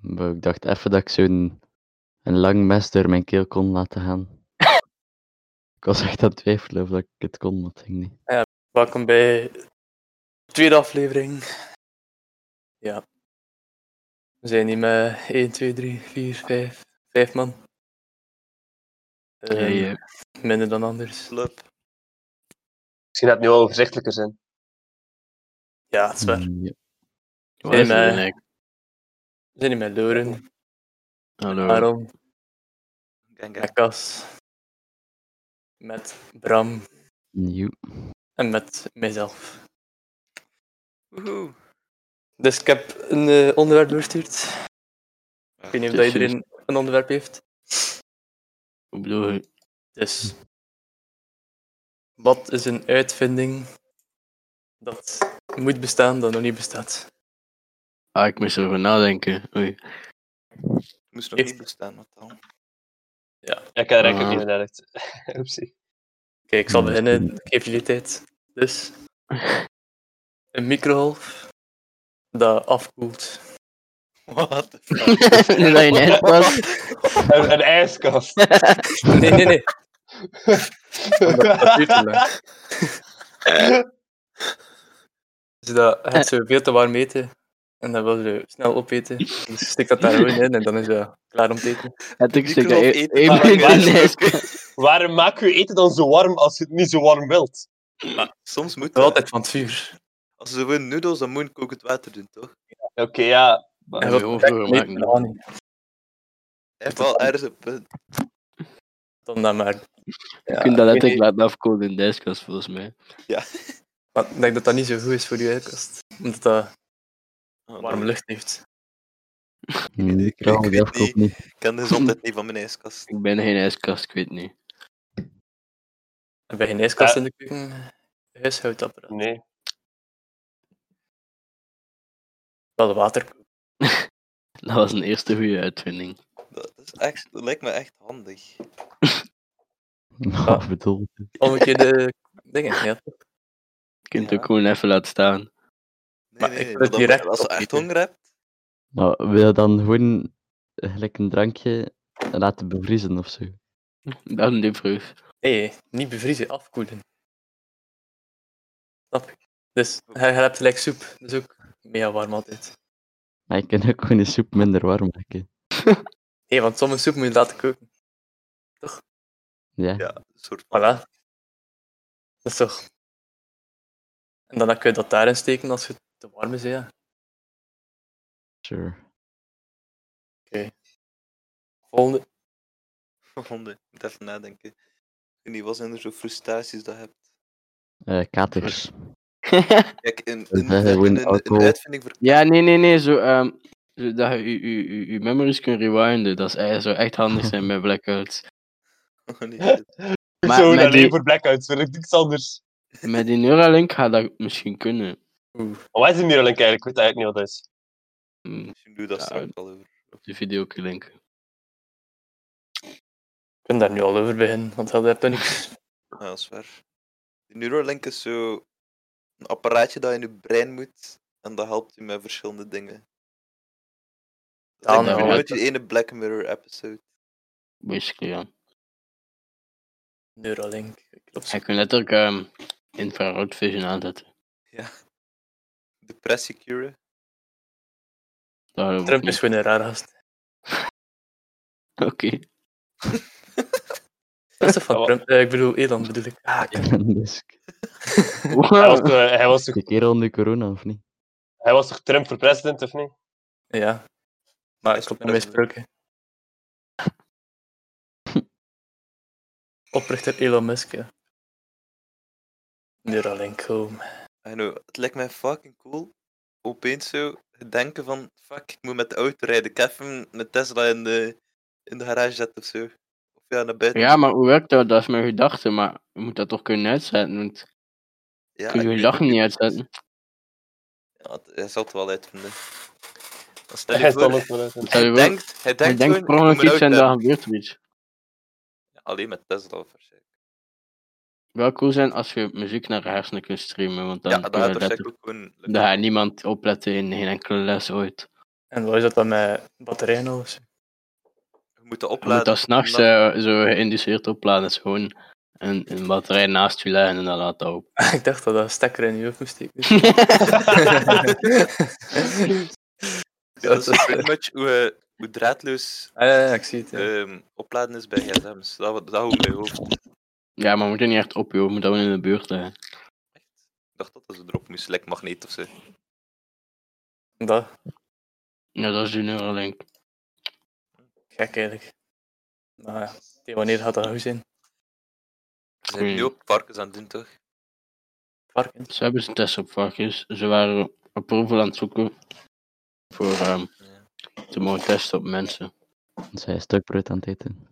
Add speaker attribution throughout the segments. Speaker 1: Maar ik dacht even dat ik zo'n een lang mes door mijn keel kon laten gaan. ik was echt aan het twijfelen of dat ik het kon, maar het ging niet.
Speaker 2: Welkom bij de tweede aflevering. Ja. We zijn hier met 1, 2, 3, 4, 5. 5 man. Ehm,
Speaker 1: Hey, eh,
Speaker 2: Minder dan anders.
Speaker 3: Misschien had het nu al overzichtelijker zijn.
Speaker 2: Ja, het is waar.
Speaker 1: mm, ja.
Speaker 4: Wat is
Speaker 2: Nee,
Speaker 4: er
Speaker 2: maar-
Speaker 4: dan eigenlijk?
Speaker 2: We zijn hier met Loren,
Speaker 4: Hallo.
Speaker 2: Aaron,
Speaker 5: Gang, gang.
Speaker 2: met Cas, met Bram
Speaker 1: Nieuw.
Speaker 2: en met mijzelf.
Speaker 5: Woehoe.
Speaker 2: Dus ik heb een eh, onderwerp doorgestuurd. Ik weet niet of dat
Speaker 1: Precies.
Speaker 2: iedereen een onderwerp heeft.
Speaker 4: Hoe bedoel je?
Speaker 2: Dus, wat is een uitvinding dat moet bestaan dat nog niet bestaat?
Speaker 4: Ah, ik moest erover nadenken. Oei.
Speaker 5: Moest nog
Speaker 2: Heeft-
Speaker 5: niet bestaan, wat dan?
Speaker 3: Ja, ik had er eigenlijk ook
Speaker 4: Ah.
Speaker 3: niet meer naar uit. Oepsie.
Speaker 2: Oké, ik zal
Speaker 1: Hmm.
Speaker 2: beginnen. Ik geef jullie tijd. Dus, een microgolf dat afkoelt.
Speaker 5: What the
Speaker 4: nu dat je net was.
Speaker 3: Een, een ijskast.
Speaker 2: Nee, nee, nee. dat duurt te lang. Dus dat het zo veel te warm eten. En dat wil je snel opeten. Dus stik dat daar gewoon in en dan is dat klaar om te eten.
Speaker 4: Het ik stuk dat
Speaker 5: Microgolf
Speaker 4: één
Speaker 5: eten,
Speaker 4: één
Speaker 3: maar waar
Speaker 4: minuut
Speaker 3: is
Speaker 4: in
Speaker 3: het
Speaker 4: is.
Speaker 3: Waarom maak je eten dan zo warm als je het niet zo warm wilt?
Speaker 5: Soms moet
Speaker 2: Dat
Speaker 5: dat.
Speaker 2: altijd van het vuur.
Speaker 5: Als ze willen noedels, dan moet ik ook het water doen, toch?
Speaker 3: Oké, ja.
Speaker 2: En
Speaker 4: Ja,
Speaker 2: wat
Speaker 4: we gaan maken.
Speaker 2: Nee, dat niet.
Speaker 5: Echt wel ergens een punt.
Speaker 2: Dan dat maar.
Speaker 4: Je kunt dat letterlijk laten afkoelen in de ijskast, volgens mij.
Speaker 2: Maar ik denk dat dat niet zo goed is voor je ijskast. Omdat dat
Speaker 5: Oh, dan-
Speaker 2: warme lucht heeft.
Speaker 1: Ik kan
Speaker 5: weet
Speaker 1: het afkoop niet.
Speaker 5: Ik ken de gezondheid niet van mijn ijskast.
Speaker 4: Ik ben geen ijskast, ik weet niet.
Speaker 2: En bij geen ijskast
Speaker 3: Ja.
Speaker 2: in de keuken, huishoudapparaat.
Speaker 3: Nee.
Speaker 2: Wel water.
Speaker 4: Dat was een eerste goede uitvinding.
Speaker 5: Dat, is echt, dat lijkt me echt handig.
Speaker 1: Wat bedoel je?
Speaker 2: Omgekeerde dingen. Ja.
Speaker 4: Je kunt het
Speaker 5: Ja.
Speaker 4: ook gewoon even laten staan.
Speaker 5: Nee,
Speaker 2: Maar
Speaker 5: nee,
Speaker 2: ik wil
Speaker 5: dat-
Speaker 2: het direct
Speaker 5: Als je echt
Speaker 2: opeten.
Speaker 5: honger hebt,
Speaker 1: Nou, wil je dan gewoon eh, gelijk een drankje laten bevriezen of zo?
Speaker 4: Dat is de vraag.
Speaker 2: Nee, niet bevriezen, afkoelen. Snap je? Dus hij hij hebt gelijk soep, dus ook mega warm altijd.
Speaker 1: Maar je kan ook gewoon de soep minder warm maken.
Speaker 2: Nee, want sommige soep moet je laten koken.
Speaker 1: Ja.
Speaker 5: ja, een soort van.
Speaker 2: Voilà. Dat is toch. En dan kun je dat daarin steken als het te warm is, hè, ja.
Speaker 1: Sure.
Speaker 2: Volgende.
Speaker 5: Honden. Ik moet even nadenken. Ik weet niet, wat zijn er zo frustraties dat je hebt?
Speaker 1: Eh, katers.
Speaker 5: Kijk, een,
Speaker 1: is
Speaker 5: een,
Speaker 1: hè,
Speaker 5: een,
Speaker 1: gewoon
Speaker 5: een- een
Speaker 1: alcohol.
Speaker 5: uitvinding voor...
Speaker 4: ja, nee, nee, nee. Zo, ehm, zo dat je je, je, je- je memories kunt rewinden. Dat is, eh, zou echt handig zijn bij blackouts.
Speaker 5: Oh, nee,
Speaker 4: Maar
Speaker 3: zo,
Speaker 4: met
Speaker 3: alleen
Speaker 4: die-
Speaker 3: voor blackouts wil ik niks anders.
Speaker 4: Met die Neuralink gaat dat misschien kunnen.
Speaker 3: Maar wat is een Neuralink eigenlijk? Ik weet eigenlijk niet wat dat is.
Speaker 4: Hm,
Speaker 5: misschien doe je dat
Speaker 4: Ja,
Speaker 5: straks al over.
Speaker 4: Op de video ook linken.
Speaker 2: Ik ben daar nu al over beginnen, want dat heb toch niks.
Speaker 5: Ja, Ah, dat is waar. De Neuralink is zo een apparaatje dat in je brein moet en dat helpt je met verschillende dingen.
Speaker 2: Ah,
Speaker 5: Dat is
Speaker 2: nou,
Speaker 5: uit die ene Black Mirror episode.
Speaker 4: Basically, ja.
Speaker 2: Neuralink. Klopt.
Speaker 4: Je kunt letterlijk ehm infrarood vision aanzetten.
Speaker 5: Depressie curen.
Speaker 4: Dat geloof ik
Speaker 2: Trump is
Speaker 4: niet.
Speaker 2: gewoon een raar gast.
Speaker 4: Oké.
Speaker 2: Dat is toch van
Speaker 3: Ah, wa-
Speaker 2: Trump? Eh, ik bedoel, Elon bedoel ik. Ah, ja.
Speaker 1: dus
Speaker 3: Hij was, eh, hij, was toch,
Speaker 1: de kerel nu corona of niet?
Speaker 3: hij was toch Trump voor president, of niet?
Speaker 2: ja. Maar ik
Speaker 5: Is
Speaker 2: klopt
Speaker 5: het
Speaker 2: met mijn sprookje. Oprichter Elon Musk, ja. Neuralink home.
Speaker 5: I know, het lijkt mij fucking cool. Opeens zo het denken van, fuck, ik moet met de auto rijden. Ik heb hem met Tesla in de, in de garage zetten of zo. Of ja, naar buiten.
Speaker 4: Ja, maar hoe werkt dat? Dat is mijn gedachte, maar je moet dat toch kunnen uitzetten. Want
Speaker 5: Ja,
Speaker 4: kun je
Speaker 5: ik
Speaker 4: je
Speaker 5: weet
Speaker 4: gedachten
Speaker 5: het
Speaker 4: niet uitzetten?
Speaker 5: Ja, het- hij zal het wel uitvinden. Maar Stel
Speaker 3: Hij
Speaker 5: je
Speaker 3: stond
Speaker 5: voor,
Speaker 3: ook wel uit.
Speaker 4: Stel je
Speaker 5: hij
Speaker 4: voor-
Speaker 5: denkt, hij
Speaker 4: Je
Speaker 5: denkt
Speaker 4: denkt
Speaker 5: gewoon,
Speaker 4: per
Speaker 5: ik moet
Speaker 4: ongeluk
Speaker 5: mijn
Speaker 4: iets en
Speaker 5: auto
Speaker 4: daar gebeurt er iets.
Speaker 5: Alleen met Tesla waarschijnlijk.
Speaker 4: Wel cool zijn als je muziek naar je hersenen kunt streamen, want dan
Speaker 5: Ja,
Speaker 4: kun
Speaker 5: dat
Speaker 4: je
Speaker 5: gaat
Speaker 4: letterlijk-
Speaker 5: waarschijnlijk ook gewoon lukken.
Speaker 4: daar gaat niemand opletten in geen enkele les ooit.
Speaker 2: En wat is dat dan met batterijen al? is?
Speaker 5: Je moet dat
Speaker 4: Je moet
Speaker 5: opladen.
Speaker 4: dat s'nachts
Speaker 5: Omdat-
Speaker 4: eh, zo geïnduceerd opladen. Het is gewoon een, een batterij naast je leggen en dan laat dat op.
Speaker 2: ik dacht dat dat een stekker in je hoofd moest steken.
Speaker 5: Ja, dat is pretty much hoe, eh, hoe draadloos
Speaker 2: Ah, ja, ja, ik zie het. ja.
Speaker 5: ehm, opladen is bij gsm's. Dat, wa- dat hou ik bij hoofd.
Speaker 4: ja, maar moet je niet echt op, joh. Moet dat gewoon in de buurt leggen.
Speaker 5: Ik dacht dat dat ze erop moest, like magneet of zo.
Speaker 2: Dat,
Speaker 4: Ja, dat is de Neuralink.
Speaker 2: gek eigenlijk. Maar ja, tegen wanneer gaat dat goed zijn?
Speaker 5: Ze
Speaker 4: Hmm.
Speaker 5: zijn nu ook varkens aan het doen, toch?
Speaker 2: Varkens?
Speaker 4: Ze hebben een test op vakjes. Ze waren approval aan het zoeken voor ehm, te mogen testen op mensen.
Speaker 1: Zij is stukbrood aan het eten.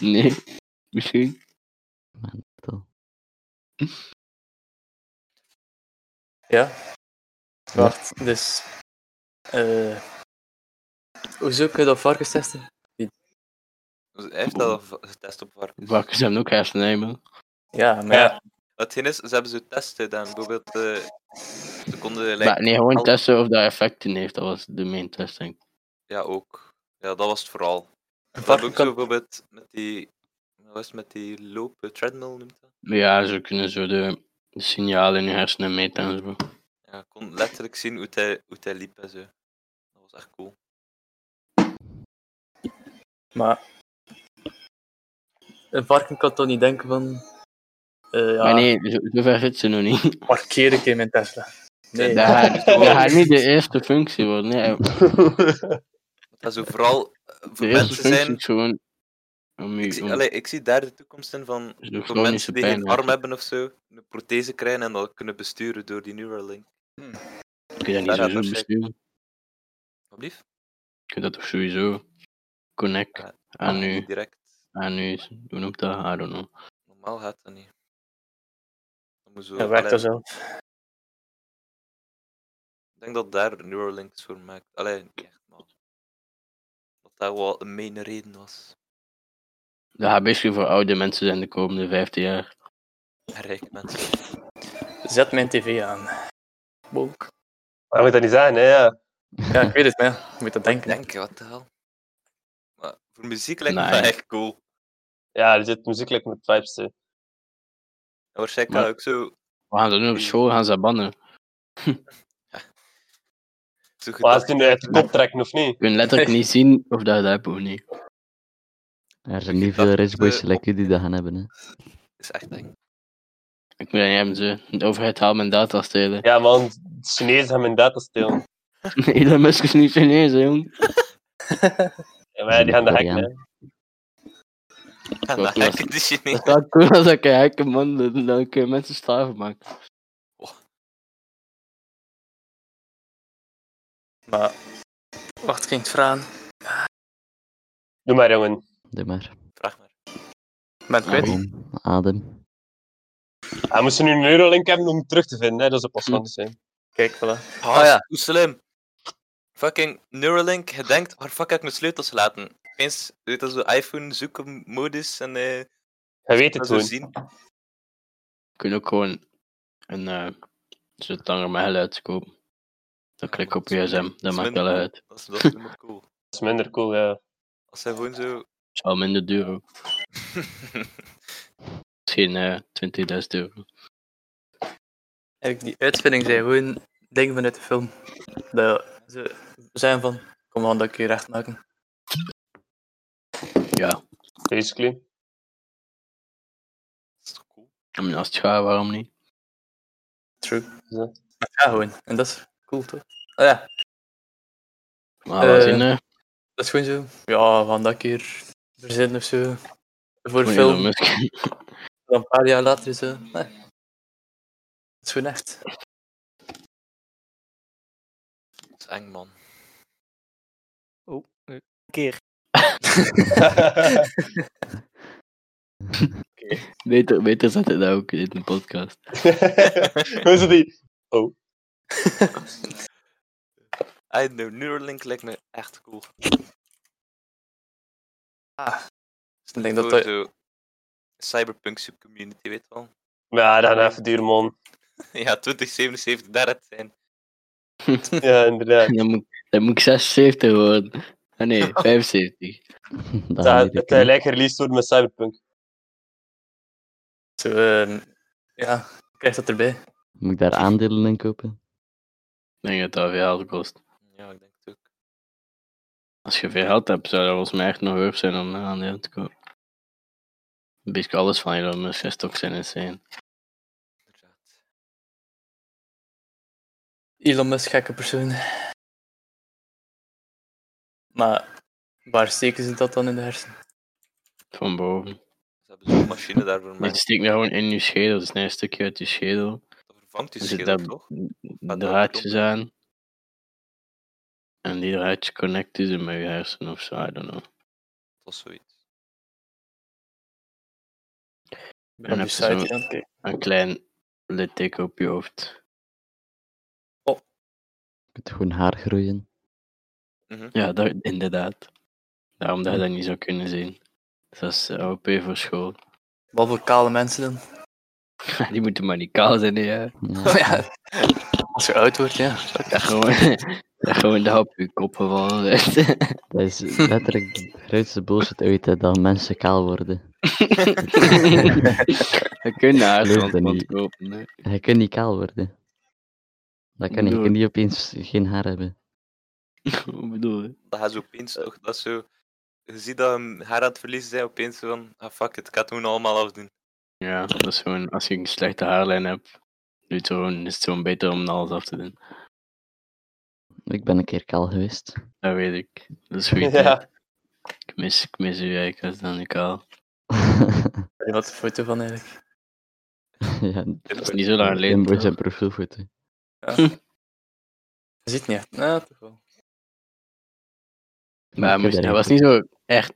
Speaker 4: nee, misschien.
Speaker 1: Man, vertel.
Speaker 2: Ja. Wacht, dus... eh hoezo kun je dat varkens testen?
Speaker 5: Dus Hij heeft dat al va- getest op varkens.
Speaker 4: Vakjes hebben ook hersenen, hè, man.
Speaker 2: Ja, maar ja.
Speaker 3: Ja.
Speaker 5: Hetgeen is, ze hebben ze testen gedaan. Bijvoorbeeld, eh, ze konden... Like,
Speaker 4: Maar nee, gewoon
Speaker 5: al-
Speaker 4: testen of dat effecten heeft. Dat was de main test, denk ik.
Speaker 5: Ja, ook. Ja, dat was het vooral.
Speaker 2: Een
Speaker 5: Dat hebben
Speaker 2: varken
Speaker 5: ook zo
Speaker 2: kan...
Speaker 5: bijvoorbeeld met die... Wat was het met die lopen? Treadmill noemt dat?
Speaker 4: Maar Ja, ze kunnen zo de signalen in je hersenen meten en zo.
Speaker 5: Ja, ik kon letterlijk zien hoe hij, hoe hij liep en zo. Dat was echt cool.
Speaker 2: Maar... Een varken kan toch niet denken van... eh ja,
Speaker 4: Maar nee, zo, zo ver zit ze nog niet.
Speaker 2: parkeer ik in mijn Tesla. Nee,
Speaker 4: Dat gaat, dat gaat niet de eerste functie worden. Nee.
Speaker 5: Dat zo vooral eh, voor
Speaker 4: De eerste
Speaker 5: mensen
Speaker 4: functie
Speaker 5: zijn...
Speaker 4: is gewoon om
Speaker 5: Ik
Speaker 4: je
Speaker 5: zie,
Speaker 4: om
Speaker 5: allee, ik zie daar de toekomst in van
Speaker 4: zo
Speaker 5: voor
Speaker 4: chronische
Speaker 5: mensen die
Speaker 4: pijn.
Speaker 5: geen arm
Speaker 4: Kun
Speaker 5: hebben of zo, een prothese krijgen en dat kunnen besturen door die Neuralink.
Speaker 4: je dat
Speaker 5: Ja,
Speaker 4: niet
Speaker 5: dat
Speaker 4: sowieso
Speaker 5: is-
Speaker 4: besturen?
Speaker 5: Alsjeblieft.
Speaker 4: Kun je dat toch sowieso connect
Speaker 5: Ja.
Speaker 4: aan je,
Speaker 5: Niet direct.
Speaker 4: aan je, hoe noemt dat? I don't know.
Speaker 5: Normaal gaat dat niet. Dat moet zo,
Speaker 2: dat werkt
Speaker 5: allee,
Speaker 2: dat zelf.
Speaker 5: Ik denk dat daar Neuralink is voor gemaakt. Allee, niet echt, maar... Dat daar wel een main reden was.
Speaker 4: Dat gaat basically voor oude mensen zijn de komende 15 jaar.
Speaker 5: Rijke mensen.
Speaker 2: Zet mijn tv aan. Bonk.
Speaker 3: Maar je moet dat niet zeggen, hè? Ja.
Speaker 2: Ja, ik weet het, maar ja, je moet dat denken.
Speaker 5: Denk je, wat de hel? Maar voor muziek lijkt me
Speaker 4: Nee.
Speaker 5: dat echt cool.
Speaker 3: Ja, er zit muziekelijk met vibes in.
Speaker 5: En waarschijnlijk
Speaker 4: Maar-
Speaker 5: kan ook zo,
Speaker 4: We gaan dat doen op
Speaker 5: Hm.
Speaker 4: school, gaan ze dat bannen.
Speaker 5: zo goed
Speaker 3: Maar
Speaker 5: als-
Speaker 3: ze doen uit de kop trekken, of niet?
Speaker 4: Je kunt letterlijk niet zien of dat je dat hebt of niet.
Speaker 1: Er zijn niet
Speaker 5: Ik
Speaker 1: veel
Speaker 5: dacht,
Speaker 1: rich boys
Speaker 5: eh,
Speaker 1: like u die dat gaan hebben, hè.
Speaker 5: is echt eng.
Speaker 4: Ik moet dat niet hebben, ze. De overheid haalt mijn data stelen.
Speaker 3: Ja, man, de Chinezen hebben hun data stelen.
Speaker 4: Nee, dat Musk is niet Chinees, hè, jong.
Speaker 3: Ja, maar ja, die gaan de hacken, hè.
Speaker 5: En
Speaker 4: Wat
Speaker 5: dat
Speaker 4: was-
Speaker 5: hacken de Chinezen.
Speaker 4: Dat zou cool als ik een hacker man, dan- dan kun je mensen slaven maken.
Speaker 2: Maar... Wacht, ik ging het vragen.
Speaker 3: Doe maar, jongen.
Speaker 1: Doe maar.
Speaker 5: Vraag maar.
Speaker 2: Ik ben het kwijt.
Speaker 1: Adem. Adem.
Speaker 3: Hij moest nu een Neuralink hebben om hem terug te vinden, hè. Dat zou
Speaker 2: Hm.
Speaker 3: pas handig zijn.
Speaker 2: Kijk, voilà.
Speaker 5: Ah
Speaker 2: ja.
Speaker 5: Hoe slim. Fucking Neuralink, je denkt, waar fuck heb ik mijn sleutels gelaten? Eens, weet dat zo iPhone zoeken modus en eh
Speaker 3: Hij weet het
Speaker 5: dat zo
Speaker 3: gewoon.
Speaker 5: zien.
Speaker 4: kun je ook gewoon een eh zo'n tanger met geluid kopen. Dan klik ik op je gsm, dat maakt wel uit.
Speaker 5: Dat is, dat is helemaal cool.
Speaker 3: Dat is minder cool, ja.
Speaker 5: Als hij gewoon zo...
Speaker 4: Het is wel minder duur ook. Misschien eh 20.000 euro.
Speaker 2: Eigenlijk, die uitvinding zijn gewoon dingen vanuit de film. Dat ze zijn van, kom aan dat ik je recht maken.
Speaker 4: Ja,
Speaker 3: Basically.
Speaker 5: dat is toch cool?
Speaker 4: I mean, als het gaat, waarom niet?
Speaker 2: True.
Speaker 3: Ja.
Speaker 2: Ja, gewoon. En dat is cool, toch? Ah, ja,
Speaker 4: Maar we
Speaker 2: Eh,
Speaker 4: zien, hè.
Speaker 2: dat is gewoon zo. Ja, van dat keer verzinnen of zo. Voor
Speaker 4: Gewoon
Speaker 2: film,
Speaker 4: Elon Musk.
Speaker 2: dan een paar jaar later zo. Nee. Dat is gewoon echt.
Speaker 5: Dat is eng, man.
Speaker 6: keer.
Speaker 4: Beter, beter zet hij dat ook in de podcast.
Speaker 3: Hoe is die?
Speaker 5: I don't know, Ah, Neuralink lijkt me echt cool.
Speaker 2: Ah. Ik denk
Speaker 5: Denk
Speaker 2: dat dat...
Speaker 5: Zo, cyberpunk subcommunity, weet wel.
Speaker 3: Ja, dat gaat even duur, man.
Speaker 5: ja, 2077, daar het zijn.
Speaker 3: Ja, inderdaad.
Speaker 4: Dan moet, Dan moet ik 76 worden. Ah nee, 75.
Speaker 1: Dat
Speaker 3: Dat
Speaker 1: weet ik
Speaker 3: het
Speaker 1: niet.
Speaker 3: eh, lijkt gereleased worden met Cyberpunk.
Speaker 2: Zo, ehm, ja, krijg dat erbij.
Speaker 1: Moet ik daar aandelen in kopen?
Speaker 4: Ik denk dat dat veel geld kost.
Speaker 5: Ja, ik denk het ook.
Speaker 4: Als je veel geld hebt, zou dat volgens mij echt nog worth zijn om een aandeel te kopen. Een beetje alles van je dan misschien toch zijn insane.
Speaker 5: Inderdaad.
Speaker 2: Elon Musk, gekke persoon. Maar waar steken ze dat dan in de hersenen?
Speaker 4: Van boven.
Speaker 5: Ze hebben zo'n machine daarvoor,
Speaker 4: Maar
Speaker 5: maar
Speaker 4: het steekt nou gewoon in je schedel. Het is een stukje uit je schedel.
Speaker 5: dat vervangt die
Speaker 4: Er zitten
Speaker 5: schil
Speaker 4: daar
Speaker 5: toch? dat
Speaker 4: draadjes
Speaker 5: klopt.
Speaker 4: aan. En die draadjes connecten ze met je hersenen of zo, I don't know.
Speaker 5: Of zoiets.
Speaker 2: Ik ben op
Speaker 4: heb
Speaker 2: die
Speaker 4: je zo-
Speaker 2: site aan het kijken.
Speaker 4: Een klein litteken op je hoofd.
Speaker 1: Je kunt gewoon haar groeien.
Speaker 4: Ja, dat, inderdaad. Daarom dat je dat niet zou kunnen zien. Dus dat is eh, OP voor school.
Speaker 2: Wat voor kale mensen dan?
Speaker 4: die moeten maar niet kaal zijn, hè, Oh ja.
Speaker 1: Ja.
Speaker 2: ja. Als je oud wordt, ja.
Speaker 4: Dat gewoon, dat gewoon dat op je kop gevallen werd.
Speaker 1: Dat is letterlijk de grootste bullshit ooit, hè, dat mensen kaal worden.
Speaker 4: Je kunt naar
Speaker 1: Leuk dat
Speaker 4: het
Speaker 1: niet.
Speaker 4: kopen. hè.
Speaker 1: Je kunt niet kaal worden. Dat kan niet, je
Speaker 4: Bedoel-
Speaker 1: kunt niet opeens geen haar hebben.
Speaker 4: Wat bedoel je?
Speaker 5: Dat hij zo opeens toch, dat is zo... Je ziet dat hem haar aan het verliezen zijn, opeens zo van, ah fuck it, ik ga het gewoon allemaal afdoen.
Speaker 4: Ja, dat is gewoon, als je een slechte haarlijn hebt, doe het gewoon, is het gewoon beter om alles af te doen.
Speaker 1: Ik ben een keer kaal geweest.
Speaker 4: Dat weet ik. Dat is goed.
Speaker 3: Ja.
Speaker 4: Ik mis, ik mis u eigenlijk als dan ik al.
Speaker 2: Wat een foto van eigenlijk.
Speaker 1: ja,
Speaker 5: Dat
Speaker 4: is niet zo lang geleden,
Speaker 1: In
Speaker 4: toch?
Speaker 1: zijn profielfoto.
Speaker 2: Je ziet niet echt. Nou, toch wel.
Speaker 4: Maar hij,
Speaker 1: Ik heb
Speaker 4: moest,
Speaker 1: daar
Speaker 4: hij
Speaker 1: geen
Speaker 4: was niet zo echt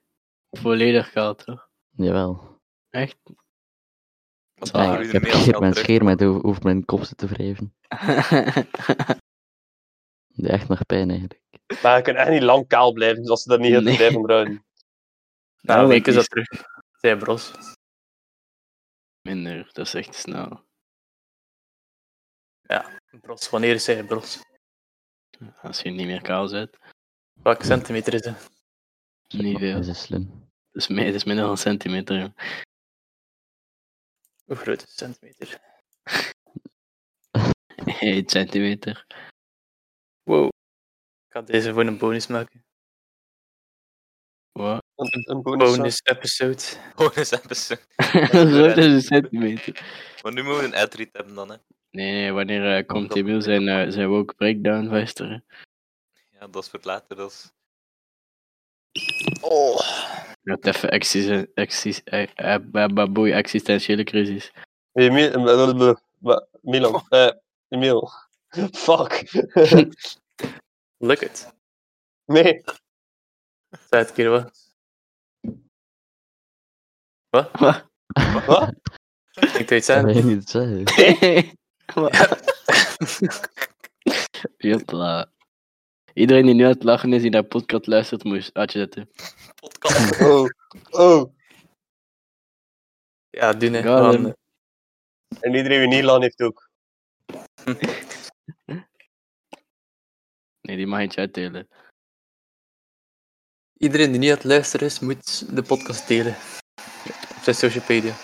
Speaker 4: volledig koud, toch?
Speaker 1: Jawel.
Speaker 4: Echt?
Speaker 5: Want
Speaker 4: Ah,
Speaker 5: dan groeide
Speaker 1: ik
Speaker 5: de
Speaker 1: heb
Speaker 5: meels
Speaker 1: keer
Speaker 5: snel
Speaker 1: mijn
Speaker 5: terug.
Speaker 1: scheer met over, over mijn kop zitten wrijven. Die deed echt nog pijn eigenlijk.
Speaker 3: Maar je kunt echt niet lang kaal blijven, dus als ze dat niet heel
Speaker 4: Nee.
Speaker 3: nee. blijven bruinen.
Speaker 2: Nou, een week is
Speaker 4: is
Speaker 2: dat terug. Zij bros.
Speaker 4: minder. Dat is echt snel.
Speaker 2: Bros, wanneer is zij bros?
Speaker 4: Als je niet meer kaal zet.
Speaker 2: Welke centimeter is ze?
Speaker 4: Niet veel.
Speaker 1: Dat is slim.
Speaker 4: Dus mee, dat is minder dan een centimeter.
Speaker 2: Hoe groot is een centimeter?
Speaker 4: 1 centimeter.
Speaker 2: Ik ga deze voor een bonus maken.
Speaker 4: Wat?
Speaker 3: Een, een bonus.
Speaker 2: Bonus episode.
Speaker 5: Gewoon eens even zo.
Speaker 4: Groot is een centimeter.
Speaker 5: Maar nu moeten we een ad-read hebben dan, hè.
Speaker 4: Nee, nee wanneer eh, komt Emil zijn, eh, zijn woke breakdown vestigen?
Speaker 5: Ja, dat is voor later, dat is...
Speaker 2: Oh.
Speaker 4: Je hebt even existen- exis- eh, eh, ba- ba- boei, existentiële crisis.
Speaker 3: Nee, Mi- eh, eh, eh, eh, Milan.
Speaker 2: Oh.
Speaker 3: Eh, Emil. Fuck.
Speaker 2: Lukt het.
Speaker 3: nee.
Speaker 2: Zou het keer wat?
Speaker 3: Wat?
Speaker 2: Ik deed
Speaker 1: Dat
Speaker 2: zijn.
Speaker 1: wil je niet zeggen.
Speaker 4: Jopla. Iedereen die nu aan het lachen is, die naar podcast luistert, moet je uitzetten.
Speaker 5: Podcast.
Speaker 3: Oh. Oh.
Speaker 2: Ja, doen hè.
Speaker 4: Ja,
Speaker 2: Gewoon, eh,
Speaker 4: dan-
Speaker 3: En iedereen die Nederland heeft ook.
Speaker 4: Nee, die mag je uitdelen.
Speaker 2: Iedereen die niet aan het luisteren is, moet de podcast delen. Op zijn socialpedia.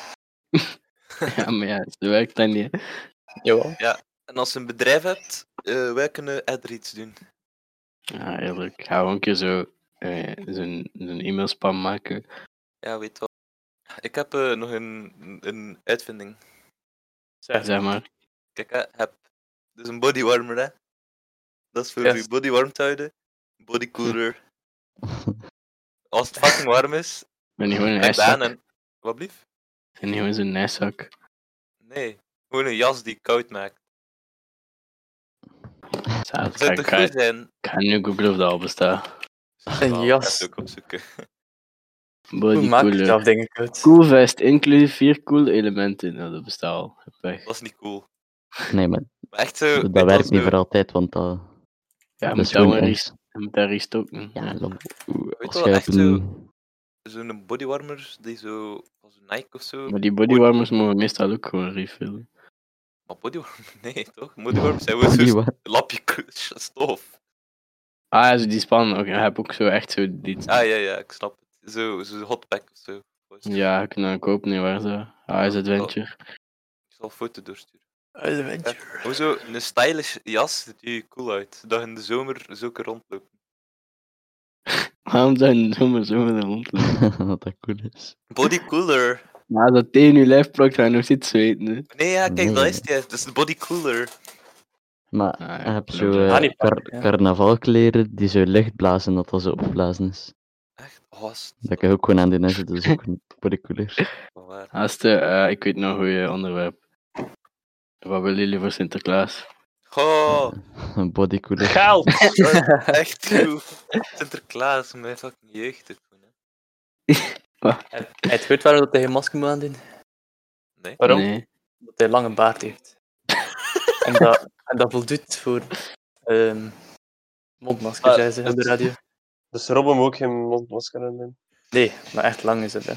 Speaker 4: Ja, maar ja, dat werkt dan niet.
Speaker 2: Jawel.
Speaker 5: En als je een bedrijf hebt, eh, wij kunnen ad-reads doen.
Speaker 4: Ja, eerlijk. Ga gewoon een keer zo eh, zo'n zo'n e-mail spam maken.
Speaker 5: Ja, weet wel. Ik heb eh, nog een, een uitvinding.
Speaker 2: Zeg,
Speaker 4: Zeg maar.
Speaker 5: Kijk, hè, heb. Dus een bodywarmer, hè. Dat is voor
Speaker 2: Yes.
Speaker 5: je body warm te houden. Bodycooler. Als het fucking warm is,
Speaker 4: Ben je gewoon een
Speaker 5: trek dat aan
Speaker 4: ijszak?
Speaker 5: en... Wat blief?
Speaker 4: Ben je gewoon zo'n ijszak?
Speaker 5: Nee. Gewoon een jas die koud maakt.
Speaker 4: Zalig.
Speaker 5: Dat zou
Speaker 4: Ik
Speaker 5: toch
Speaker 4: ga,
Speaker 5: goed
Speaker 4: ik
Speaker 5: zijn?
Speaker 4: ga nu googlen of dat al bestaat.
Speaker 2: Een
Speaker 5: Wel,
Speaker 2: jas.
Speaker 5: Even ook opzoeken.
Speaker 2: hoe
Speaker 4: Body
Speaker 2: maak je
Speaker 4: cooler.
Speaker 2: zelf dingen uit?
Speaker 4: Cool vest, inclusief vier coole elementen. Nou, dat bestaat al. Weg.
Speaker 5: Dat is niet cool.
Speaker 1: Nee, maar
Speaker 5: Maar echt zo... Eh, weet je
Speaker 1: dat
Speaker 5: wel,
Speaker 1: werkt niet
Speaker 5: zo-
Speaker 1: voor altijd, want dat,
Speaker 4: Ja,
Speaker 1: dat
Speaker 4: moet
Speaker 1: is
Speaker 4: daar
Speaker 1: gewoon
Speaker 4: gewoon
Speaker 1: ergens.
Speaker 4: rest- moet daar restocken.
Speaker 1: Ja, lo- oeh,
Speaker 5: Weet
Speaker 1: als
Speaker 5: je
Speaker 1: je
Speaker 5: wel,
Speaker 1: op
Speaker 5: echt zo-
Speaker 1: een...
Speaker 5: Zo'n bodywarmer die zo... Als een Nike of zo.
Speaker 4: Maar die bodywarmers mogen meestal ook gewoon refillen.
Speaker 5: Maar bodywarmer... Nee, toch? Bodywarmers zijn gewoon zo'n
Speaker 1: Wat?
Speaker 5: lapje k- stof.
Speaker 4: Ah, zo die span. Oké, ik heb ook zo echt zo die...
Speaker 5: Ah ja, ja, ik snap het. Zo, zo'n hotpack of zo.
Speaker 4: Ja, ik kan koop niet waar zo. Ah, is Adventure.
Speaker 5: Ik zal een foto doorsturen.
Speaker 2: Adventure.
Speaker 5: Hoezo, een stylish jas ziet je cool uit. Dat je in de zomer zulke rondloopt.
Speaker 4: Waarom zou je zomaar zo met een hond lopen?
Speaker 1: dat dat cool is.
Speaker 5: Body cooler.
Speaker 4: Maar als dat tegen je lijf plakt, ga je nog steeds zweten. hè.
Speaker 5: Nee, ja, kijk, dat
Speaker 1: Nee.
Speaker 5: is die. Dat is de body cooler.
Speaker 1: Maar
Speaker 4: Ah, ja,
Speaker 1: je hebt
Speaker 4: dat
Speaker 1: zo
Speaker 4: is-
Speaker 1: eh,
Speaker 2: Ah, niet
Speaker 1: kar-
Speaker 2: pakken, ja.
Speaker 1: carnavalkleren die zo licht blazen dat dat zo opblazen is.
Speaker 5: Echt, oh, is
Speaker 1: Dat kan je ook gewoon aan doen, hè, zo, dat is ook een voor de cooler.
Speaker 5: wel waar.
Speaker 4: Haast, eh, ik weet nog hoe je onderwerp. Wat willen jullie voor Sinterklaas?
Speaker 5: Goh,
Speaker 1: Een bodycooler.
Speaker 3: Geld!
Speaker 5: echt goed. Sinterklaas, mijn fucking jeugd. dit gewoon, hè.
Speaker 2: Heb heb je het goed waarom dat hij geen masker moet aandoen?
Speaker 5: Nee.
Speaker 2: Waarom?
Speaker 4: Nee.
Speaker 2: Dat hij lange baard heeft. en, dat, en dat voldoet voor ehm mondmasker,
Speaker 3: Ah,
Speaker 2: zei ze op de
Speaker 3: het-
Speaker 2: radio.
Speaker 3: Dus Robben moet ook geen mondmasker aan doen.
Speaker 2: Nee, maar echt lang is het. Hè.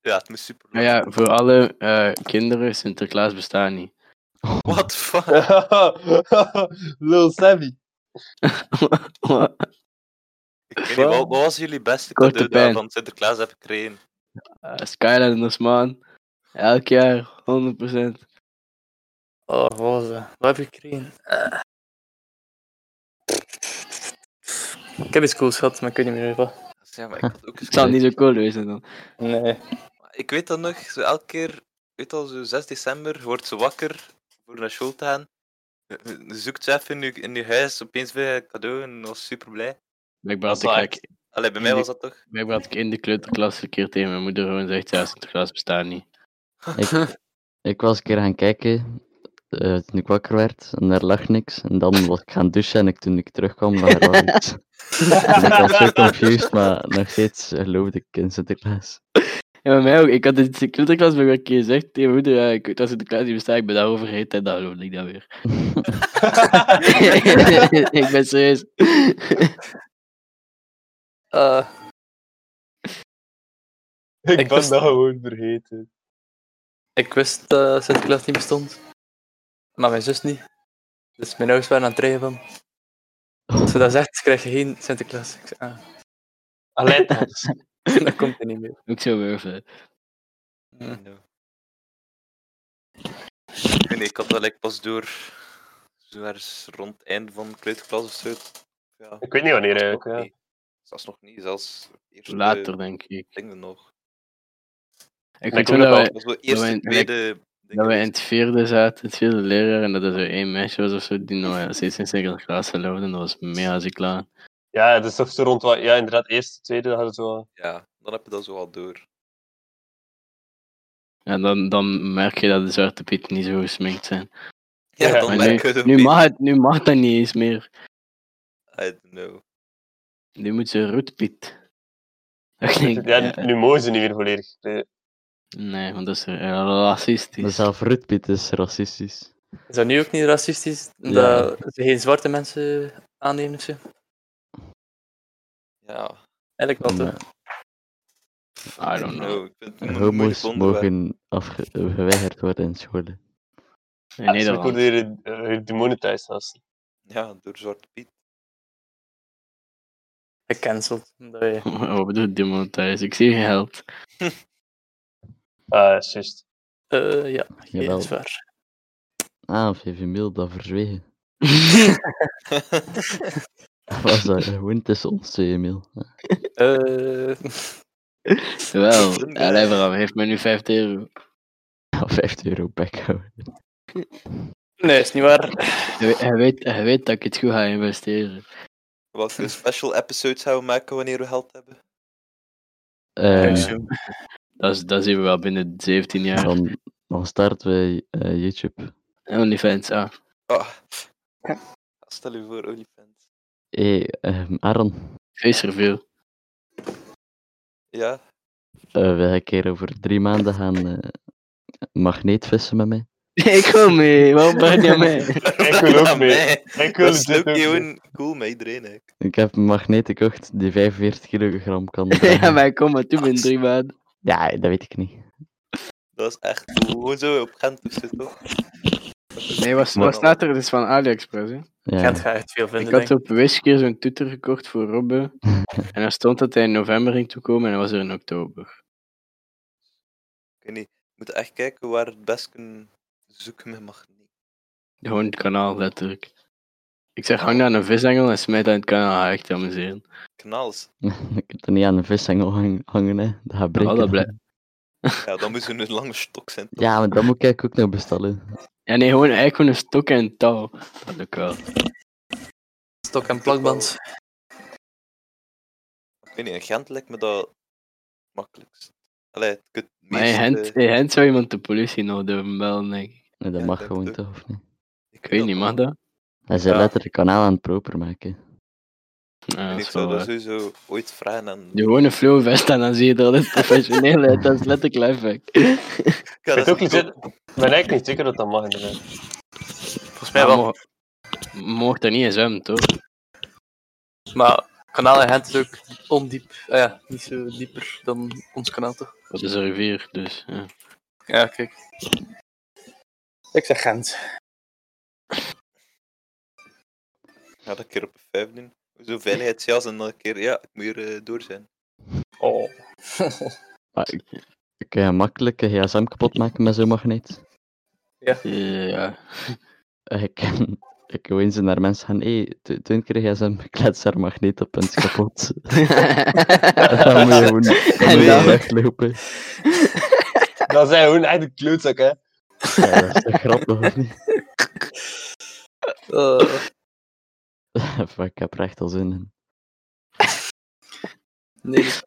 Speaker 5: Ja, het moest super.
Speaker 4: Nou ja, voor alle eh, kinderen, Sinterklaas bestaat niet.
Speaker 5: What the fuck?
Speaker 3: Lil Savvy.
Speaker 4: Eh,
Speaker 5: Ik weet niet, wat, wat was jullie beste
Speaker 4: Korte
Speaker 5: cadeau
Speaker 4: pijn.
Speaker 5: dat van Sinterklaas heb gekregen?
Speaker 4: Eh, Skylanders, man. Elk jaar, 100%.
Speaker 2: Oh, wat was dat? Wat heb ik gekregen? Eh. Ik heb iets cools gehad, maar ik weet niet meer wat.
Speaker 5: Ja, maar ik had ook eens
Speaker 4: Het zal niet zo cool wezen dan.
Speaker 2: Nee.
Speaker 5: Maar Ik weet dat nog, zo elke keer, weet al, zo 6 december, je wordt ze wakker voor naar school te gaan. Je- je Zoekt ze even in je, in je huis, opeens weer een cadeau en was super blij.
Speaker 4: Blijkbaar had,
Speaker 3: Dat is
Speaker 4: ik, ik,
Speaker 5: Allee, bij mij
Speaker 4: Nee.
Speaker 5: was dat toch?
Speaker 4: blijkbaar had ik in de kleuterklas een keer tegen mijn moeder gewoon gezegd, ja, Sinterklaas bestaat niet.
Speaker 1: Ik, ik was een keer gaan kijken eh, toen ik wakker werd en er lag niks. En dan was ik gaan douchen en ik, toen ik terugkwam, lag er wel iets. En ik was zo confused, maar nog steeds geloofde ik in Sinterklaas.
Speaker 4: Ja, bij mij ook. Ik had in de kleuterklas nog een keer gezegd tegen mijn moeder, ja, ik weet dat Sinterklaas niet bestaat, ik ben daarover vergeten en dan geloofde ik dat weer. ik ben serieus.
Speaker 2: Eh,
Speaker 3: Ik,
Speaker 2: Ik
Speaker 3: ben
Speaker 2: was-
Speaker 3: dat gewoon vergeten.
Speaker 2: ik wist dat Sinterklaas niet bestond. Maar mijn zus niet. Dus mijn ouders waren aan het rijden van. Als ze dat zegt, krijg je geen Sinterklaas. Ik zei, ah,
Speaker 3: Alleen dat.
Speaker 2: dat komt er niet meer.
Speaker 4: ook zo wurven.
Speaker 5: No. Nee, ik had dat like, pas door, zo ergens rond het einde van de kleuterklas of zo. Ja,
Speaker 3: Ik weet niet wanneer
Speaker 5: nog
Speaker 3: eigenlijk. Ja.
Speaker 5: niet. Zelfs nog niet, zelfs eerste
Speaker 4: Later, denk ik.
Speaker 5: dingen nog.
Speaker 4: Ik
Speaker 3: denk
Speaker 4: weet
Speaker 3: ook
Speaker 4: wel dat
Speaker 5: Dat
Speaker 4: wij,
Speaker 5: was wel eerste,
Speaker 4: wij-
Speaker 5: tweede...
Speaker 4: dat wij in het vierde zaten, het vierde leraar, en dat er zo één meisje was of zo, die nog ja, steeds in Sinterklaas geloofde, en dat was mega ziek klaar.
Speaker 3: ja, het is toch zo rond wat... Ja, inderdaad, eerste, tweede, dat hadden ze wel...
Speaker 5: Ja, dan heb je dat zo al door.
Speaker 4: En dan, dan merk je dat de Zwarte Piet niet zo gesminkt zijn.
Speaker 5: Ja,
Speaker 3: Ja,
Speaker 5: dan
Speaker 4: Maar nu,
Speaker 5: merk je het
Speaker 4: nu,
Speaker 5: opeens.
Speaker 4: mag het, nu mag dat niet eens meer.
Speaker 5: I don't know.
Speaker 4: Nu moet ze Roet Piet. Dat ging,
Speaker 3: Ja, nu mogen ze niet meer volledig. Nee.
Speaker 4: Nee, want dat is eh, racistisch.
Speaker 1: Maar Zelf Ruudpiet is racistisch.
Speaker 2: Is dat nu ook niet racistisch? Dat ze geen zwarte mensen aannemen of zo?
Speaker 5: Ja,
Speaker 2: Eigenlijk wel
Speaker 1: Maar
Speaker 2: toch?
Speaker 4: I don't know.
Speaker 5: Ik vind het een moeilijk
Speaker 1: eh, homo's
Speaker 5: onderwerp.
Speaker 1: mogen afge- eh, geweigerd worden in scholen.
Speaker 4: In
Speaker 3: Ja, Ze
Speaker 4: Nederland.
Speaker 3: worden hier uh, demonetized zelfs.
Speaker 5: Ja, door Zwarte Piet.
Speaker 2: Gecanceld. omdat je-
Speaker 4: Wat bedoelt Dimon thuis? Ik zie geen geld.
Speaker 3: Ah, dat is juist.
Speaker 2: Eh, ja, dat
Speaker 1: Jawel.
Speaker 2: is waar.
Speaker 1: Ah, VV Mil, dat verzwegen. Dat was dat gewoon tussen ons twee, Emil.
Speaker 2: Eh,
Speaker 4: Wel, allee, Bram, heeft mij nu 5 euro.
Speaker 1: Ja, 50 Ah, euro backhouden.
Speaker 2: nee, is niet waar.
Speaker 4: Hij weet, hij, weet, hij weet dat ik het goed ga investeren.
Speaker 5: Welke special episodes gaan we maken wanneer we geld hebben?
Speaker 1: Eh,
Speaker 4: Dat, is, dat zien we wel binnen 17 jaar.
Speaker 1: dan, dan starten we eh, YouTube.
Speaker 4: OnlyFans, ah.
Speaker 5: Ah. Stel je voor, OnlyFans.
Speaker 1: Hé, ehm, Aaron,
Speaker 4: Face review.
Speaker 5: Ja,
Speaker 1: eh, wil je een keer over drie maanden gaan eh, magneetvissen met mij?
Speaker 4: ik kom mee, waarom ben je mee?
Speaker 3: Ik wil ook
Speaker 5: Aan
Speaker 3: mee.
Speaker 5: mij.
Speaker 3: Ik wil
Speaker 5: dat is
Speaker 3: dit
Speaker 5: ook
Speaker 3: ook mee.
Speaker 5: gewoon cool met iedereen. Hè.
Speaker 1: Ik heb een magneet gekocht die 45 kilogram kan.
Speaker 4: ja,
Speaker 1: dragen.
Speaker 4: maar ik kom maar toe binnen drie maanden.
Speaker 1: Ja, dat weet ik niet.
Speaker 5: Dat is echt cool. Gewoon zo op Gent of zo, toch?
Speaker 4: Nee, was,
Speaker 1: Maar-
Speaker 4: was later, het is van AliExpress. Hè?
Speaker 1: Ja.
Speaker 2: Gent ga echt veel
Speaker 4: Ik
Speaker 2: vinden,
Speaker 4: had
Speaker 2: denk ik.
Speaker 4: op Wiskers zo'n toeter gekocht voor Robbe. en dan stond dat hij in november ging toekomen en hij was er in oktober.
Speaker 5: Ik weet niet. We moeten echt kijken waar het best kunnen zoeken met magneet.
Speaker 4: Gewoon het kanaal, letterlijk. Ik zeg, hang daar aan een visengel en smijt dat in het kanaal. Ga echt amuseren.
Speaker 5: Knals.
Speaker 1: Ik kan er niet aan de vishengel hang- hangen, hè. Dat gaat breken.
Speaker 4: dat blij-
Speaker 5: Ja, dan moet ze een lange stok zijn. toch?
Speaker 1: Ja, maar dat moet ik ook nog bestellen.
Speaker 4: Ja, nee, gewoon eigenlijk gewoon een stok en een touw. Dat lukt wel.
Speaker 2: Stok en plakband.
Speaker 5: Ik weet niet, in Gent lijkt me dat het makkelijkst. Allee, het kunt het
Speaker 4: Maar in
Speaker 5: meest,
Speaker 4: Gent,
Speaker 5: eh,
Speaker 4: in Gent zou iemand de politie nog durven bellen, denk ik.
Speaker 1: Nee, dat
Speaker 5: Ja,
Speaker 1: mag
Speaker 5: dat
Speaker 1: gewoon
Speaker 5: ook.
Speaker 1: toch, of niet?
Speaker 4: Ik weet
Speaker 5: dat
Speaker 4: niet,
Speaker 5: wel.
Speaker 4: mag dat?
Speaker 1: Hij zei
Speaker 2: Ja.
Speaker 1: letterlijk kanaal aan het proper maken.
Speaker 4: Ja, dat
Speaker 5: En ik
Speaker 4: is
Speaker 5: zou
Speaker 4: wel
Speaker 5: dat
Speaker 4: eh. waar.
Speaker 5: sowieso ooit vragen aan...
Speaker 4: Doe gewoon een flow vest aan, dan zie je dat het professioneel is. Dat is letterlijk lifehack.
Speaker 5: Ik ga
Speaker 3: Ik weet
Speaker 5: dat
Speaker 3: ook
Speaker 5: eens
Speaker 3: niet, ik ben eigenlijk niet zeker dat dat mag inderdaad.
Speaker 2: Volgens mij
Speaker 4: Maar
Speaker 2: wel.
Speaker 4: mo- mocht er niet in zwemmen, toch?
Speaker 2: Maar kanaal in Gent is ook ondiep. Ah ja, niet zo dieper dan ons kanaal, toch?
Speaker 4: Dat is een rivier, dus ja.
Speaker 2: Ja, kijk. Ik zeg Gent.
Speaker 5: Ik ga dat een keer op een vijf doen. Zo veiligheidsjas en dan een keer, ja, ik moet hier eh, door zijn.
Speaker 2: Oh.
Speaker 1: Maar ik- ik kan je makkelijk een gsm kapot maken met zo'n magneet.
Speaker 4: Ja.
Speaker 1: Eh, Ik, ik wil eens naar mensen gaan, hé, hey, doe- doe een keer een gsm, ik klets daar magneet op en het is kapot. dan moet je gewoon dan moet je
Speaker 5: Ja.
Speaker 1: weglopen.
Speaker 3: Dat zijn gewoon echt een klootzak, hè.
Speaker 1: Ja, dat is toch grappig, of niet?
Speaker 2: Eh,
Speaker 1: Fuck, ik heb er echt al zin in.
Speaker 2: nee. dat-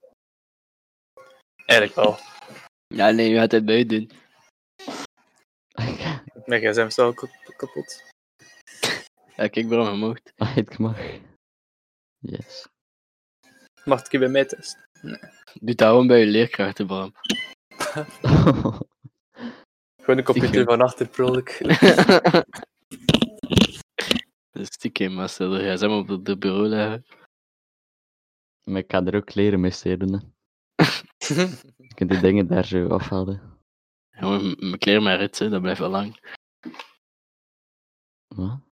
Speaker 2: Eigenlijk wel.
Speaker 4: ja, nee, je gaat het bij doen.
Speaker 2: Mijn gsm is al kap- kapot.
Speaker 4: Ja, kijk, waarom je mocht.
Speaker 1: Ah, ik mag. Yes.
Speaker 2: Mag ik je bij mij testen?
Speaker 4: Doe dat gewoon bij je leerkrachten, Bram.
Speaker 2: Gewoon een computer
Speaker 4: Stiekem.
Speaker 2: van achter, prolijk.
Speaker 4: Dat is stiekem, maar stel dat jij ze op het bureau leggen.
Speaker 1: maar ik ga er ook leren mee stelen, hè. Je kunt die dingen daar zo afhalen.
Speaker 4: Gewoon m- mijn kleren maar ritsen, dat blijft wel lang.
Speaker 1: Wat?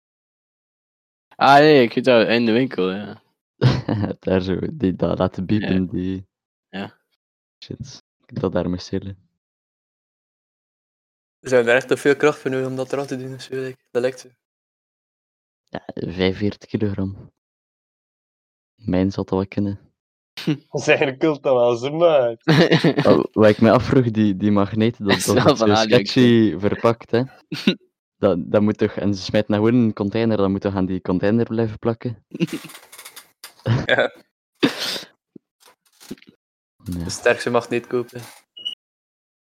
Speaker 4: Ah nee, ik weet dat in de winkel, ja.
Speaker 1: daar zo, die dat laten biepen, die...
Speaker 4: Ja.
Speaker 1: Shit. Je kunt dat daarmee stelen.
Speaker 2: Zijn we daar echt te veel kracht voor nodig om dat eraf te doen? of zo, like, Dat lijkt zo.
Speaker 1: Ja, 45 kilogram. Mijn zal dat wel kunnen.
Speaker 3: Dat is eigenlijk cult dat wel zo, maar...
Speaker 1: Oh, wat ik me afvroeg, die, die magneten, dat,
Speaker 4: Snel
Speaker 1: dat is
Speaker 4: van
Speaker 1: zo
Speaker 4: AliExpress.
Speaker 1: sketchy verpakt, hè. Dat, dat moet toch, en ze smijt nou gewoon in een container, dan moet toch aan die container blijven plakken? Ja.
Speaker 2: De sterkste mag niet kopen.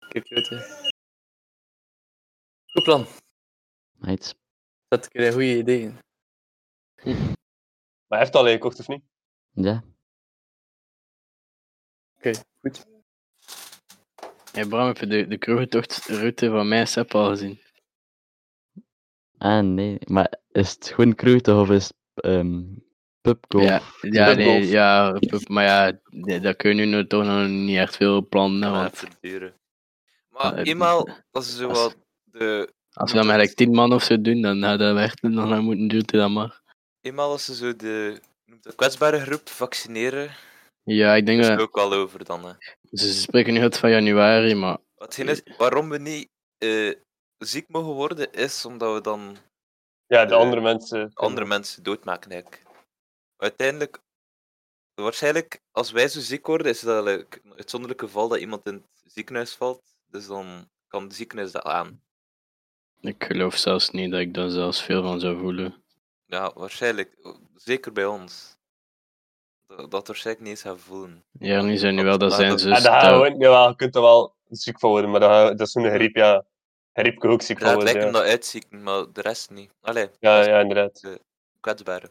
Speaker 2: Kijk, klote. Goed plan.
Speaker 1: Meid,
Speaker 2: Dat ik een goede idee in.
Speaker 3: Maar hij heeft al gekocht, of niet?
Speaker 1: ja.
Speaker 4: Hey Bram, heb je de, de kroegentochtroute van mij en Sepp al gezien?
Speaker 1: Ah, nee. Maar is het gewoon kroeten of is het ehm pubco?
Speaker 4: Ja, ja,
Speaker 1: Pubgolf.
Speaker 4: nee, ja, pup- maar ja, nee, daar kun je nu toch nog niet echt veel plannen,
Speaker 5: Ja,
Speaker 4: want
Speaker 5: even duren. Maar
Speaker 4: eh,
Speaker 5: eenmaal, als ze zo
Speaker 4: als-
Speaker 5: wat de...
Speaker 4: als we dan maar gelijk 10 man of zo doen, dan hadden we echt nog lang moeten duurt dat maar.
Speaker 5: Eenmaal als ze zo de, noemt dat, kwetsbare groep vaccineren,
Speaker 4: Ja, ik denk
Speaker 5: is het
Speaker 4: dat,
Speaker 5: ook al over dan. Hè.
Speaker 4: ze spreken nu het van januari, maar
Speaker 5: Wat geen is, waarom we niet eh, ziek mogen worden, is omdat we dan
Speaker 3: Ja, de
Speaker 5: Eh,
Speaker 3: andere mensen...
Speaker 5: andere mensen doodmaken eigenlijk. Uiteindelijk, waarschijnlijk, als wij zo ziek worden, is dat eigenlijk een uitzonderlijk geval dat iemand in het ziekenhuis valt. Dus dan kan het ziekenhuis dat aan.
Speaker 4: ik geloof zelfs niet dat ik daar zelfs veel van zou voelen.
Speaker 5: Ja, waarschijnlijk. Zeker bij ons. Dat, dat waarschijnlijk niet eens gaan voelen.
Speaker 4: Ja, nu zijn nu wel, dat
Speaker 5: Maar
Speaker 4: zijn
Speaker 5: dat-
Speaker 4: ze.
Speaker 3: Ja, Ah, daar gaan we
Speaker 4: stel-
Speaker 3: gewoon- jawel, je kunt er wel ziek van worden, maar dat, ga- dat is zo'n griep, ja. Griep kan ook ziek
Speaker 5: Ja,
Speaker 3: van
Speaker 5: het lijkt
Speaker 3: worden,
Speaker 5: hem
Speaker 3: ja.
Speaker 5: dat uitzieken, maar de rest niet. Allee,
Speaker 3: Ja, ja, inderdaad.
Speaker 5: kwetsbare.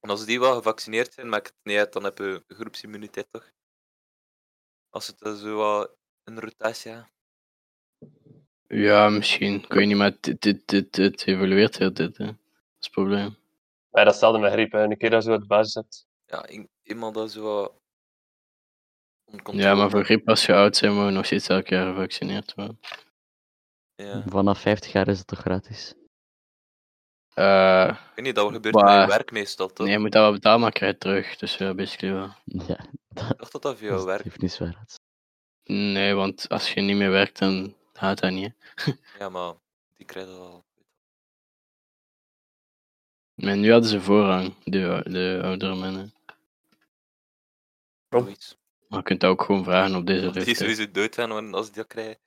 Speaker 5: En als die wel gevaccineerd zijn, maakt het niet uit, dan heb je groepsimmuniteit toch? Als het eh, zo wat een rotatie gaat.
Speaker 4: Ja, misschien. Ik weet niet, maar het, het, het, het evolueert heel dit, hè. Dat is het probleem.
Speaker 3: Ja, dat stelde met griep, hè. Een keer dat je zo de basis hebt.
Speaker 5: ja, i- iemand dat zo wat
Speaker 4: Ja, maar
Speaker 5: oncontroleerbaar-
Speaker 4: voor griep als je oud bent, moet je nog steeds elk jaar gevaccineerd worden.
Speaker 5: Ja.
Speaker 1: Vanaf 50 jaar is het toch gratis?
Speaker 4: Eh,
Speaker 5: Ik weet niet, dat gebeurt
Speaker 4: Maar-
Speaker 5: bij je werk meestal, toch?
Speaker 4: nee, je moet dat wel betalen, maar ik krijg het terug. Dus ja, basically wel.
Speaker 1: Ja, dus
Speaker 5: Ik dacht dat dat via
Speaker 1: dat
Speaker 5: jouw
Speaker 1: is
Speaker 5: werk...
Speaker 1: technisch waar. het is.
Speaker 4: Nee, want als je niet meer werkt, dan gaat dat niet. hè.
Speaker 5: Ja, maar die krijgt dat al.
Speaker 4: Maar nu hadden ze voorrang, de, de oudere mannen.
Speaker 2: Kom.
Speaker 5: Zoiets.
Speaker 4: Maar je kunt dat ook gewoon vragen op deze
Speaker 5: Want die
Speaker 4: leeftijd.
Speaker 5: sowieso dood gaan want als die dat krijgen.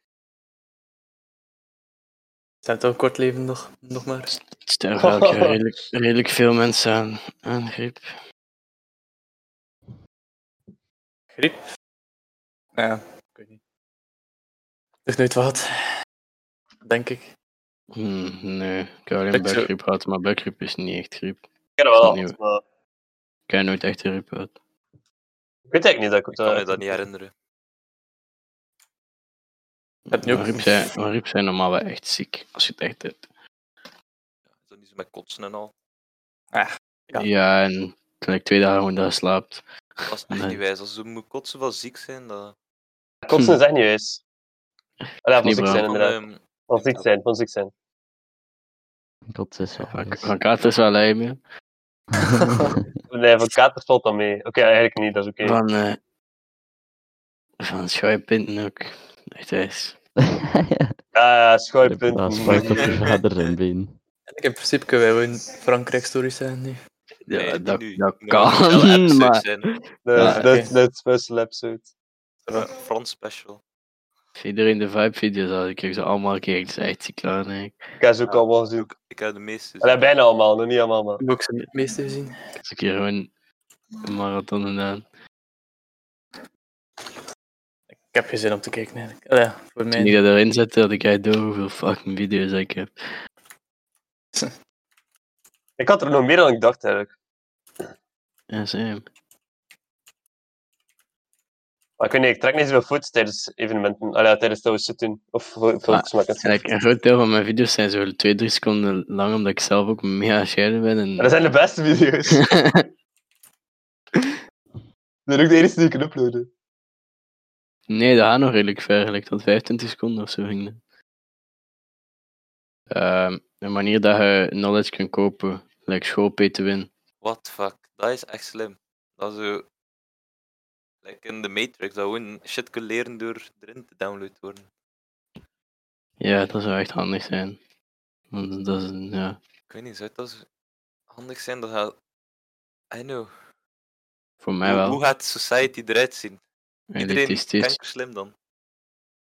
Speaker 2: Zijn toch kort leven nog, nog maar?
Speaker 4: Het sterven elk jaar redelijk, redelijk veel mensen aan, aan griep.
Speaker 2: Griep? Ja, ik weet niet. Het is nooit wat. Denk ik.
Speaker 4: Hm, nee, ik heb alleen
Speaker 2: Ik zou-
Speaker 4: buikgriep gehad, maar buikgriep is niet echt griep.
Speaker 3: ken dat wel,
Speaker 4: Opnieuw.
Speaker 3: maar
Speaker 4: Ik heb nooit echt griep gehad.
Speaker 3: ik weet eigenlijk niet dat ik
Speaker 5: Ik
Speaker 3: het...
Speaker 5: kan
Speaker 3: eh,
Speaker 5: me dat niet herinneren.
Speaker 2: Heb je ook-
Speaker 4: Maar griep zijn, maar griep zijn normaal wel echt ziek, als je het echt hebt.
Speaker 5: Is dat niet zo met kotsen en al?
Speaker 2: Ja.
Speaker 4: Ja, en toen ik twee dagen gewoon daar slaapt.
Speaker 5: Dat is echt
Speaker 4: Nee.
Speaker 5: niet wijs. Als ze moet kotsen van ziek zijn, dan...
Speaker 3: Kotsen is echt niet wijs. Ja, van
Speaker 4: Niet
Speaker 3: ziek
Speaker 4: bra.
Speaker 3: zijn inderdaad.
Speaker 5: Ehm,
Speaker 3: Van ziek zijn, van ziek zijn.
Speaker 1: Kot is wel.
Speaker 4: Van
Speaker 1: dus.
Speaker 4: van kater is wel lijm, hè.
Speaker 3: Nee, van kater valt dan mee. Oké, eigenlijk niet, dat is oké.
Speaker 4: Van, eh van schuimpinten ook. Echt wijs.
Speaker 1: Ja,
Speaker 3: Ja,
Speaker 1: Dat
Speaker 3: schuipunten.
Speaker 1: spijt op je vader zijn been.
Speaker 2: Eigenlijk in principe kunnen wij wel in Frankrijk stories zijn nu.
Speaker 4: Ja,
Speaker 5: nee, niet
Speaker 4: dat,
Speaker 5: nu.
Speaker 4: dat
Speaker 5: Nu moet het wel
Speaker 4: kan,
Speaker 5: episodes
Speaker 4: maar...
Speaker 5: zijn.
Speaker 3: Dat-
Speaker 4: Ja,
Speaker 3: Dat
Speaker 2: oké.
Speaker 3: dat is special episode.
Speaker 5: Een Frans special.
Speaker 4: Iedereen de vibe-video's had, ik kreeg ze allemaal een keer. Ik zei echt ziek aan, hè.
Speaker 3: Ik heb ze ook
Speaker 5: Ja.
Speaker 3: allemaal gezien.
Speaker 5: Ik heb de meeste.
Speaker 3: Allee, bijna allemaal, nog niet allemaal, maar...
Speaker 2: Ik heb ook ze het meeste gezien.
Speaker 4: Ik heb een keer gewoon een marathon gedaan.
Speaker 2: Ik heb geen zin om te kijken eigenlijk. Allee, voor mij.
Speaker 4: Toen ik dat erin zette, had ik echt door hoeveel fucking video's ik heb.
Speaker 3: Ik had er nog meer dan ik dacht, eigenlijk.
Speaker 4: Ja, same.
Speaker 3: Maar ik weet niet, ik trek niet zoveel foto's tijdens evenementen. Allee, tijdens dat we zitten doen. Of fo- foto's maken.
Speaker 4: Kijk, een groot deel van mijn video's zijn zo 2-3 seconden lang, omdat ik zelf ook mega scheiden ben. En...
Speaker 3: Maar dat zijn de beste video's. Dat zijn ook de enige die ik kan uploaden.
Speaker 4: nee, dat gaat nog redelijk ver, eigenlijk tot 25 seconden of zo ging dat. Ehm, een manier dat je knowledge kunt kopen, like schoolptwin.
Speaker 5: What the fuck, dat is echt slim. Dat is zo. Like in de Matrix, dat gewoon shit kunnen leren door erin te downloaden te worden.
Speaker 4: Ja, dat zou echt handig zijn. Want dat is, een- ja,
Speaker 5: Ik weet niet, zou dat zo handig zijn? Dat gaat. I know.
Speaker 4: voor mij
Speaker 5: Hoe,
Speaker 4: wel.
Speaker 5: hoe gaat society eruit zien? Iedereen
Speaker 4: Elitistisch.
Speaker 5: kanker slim dan.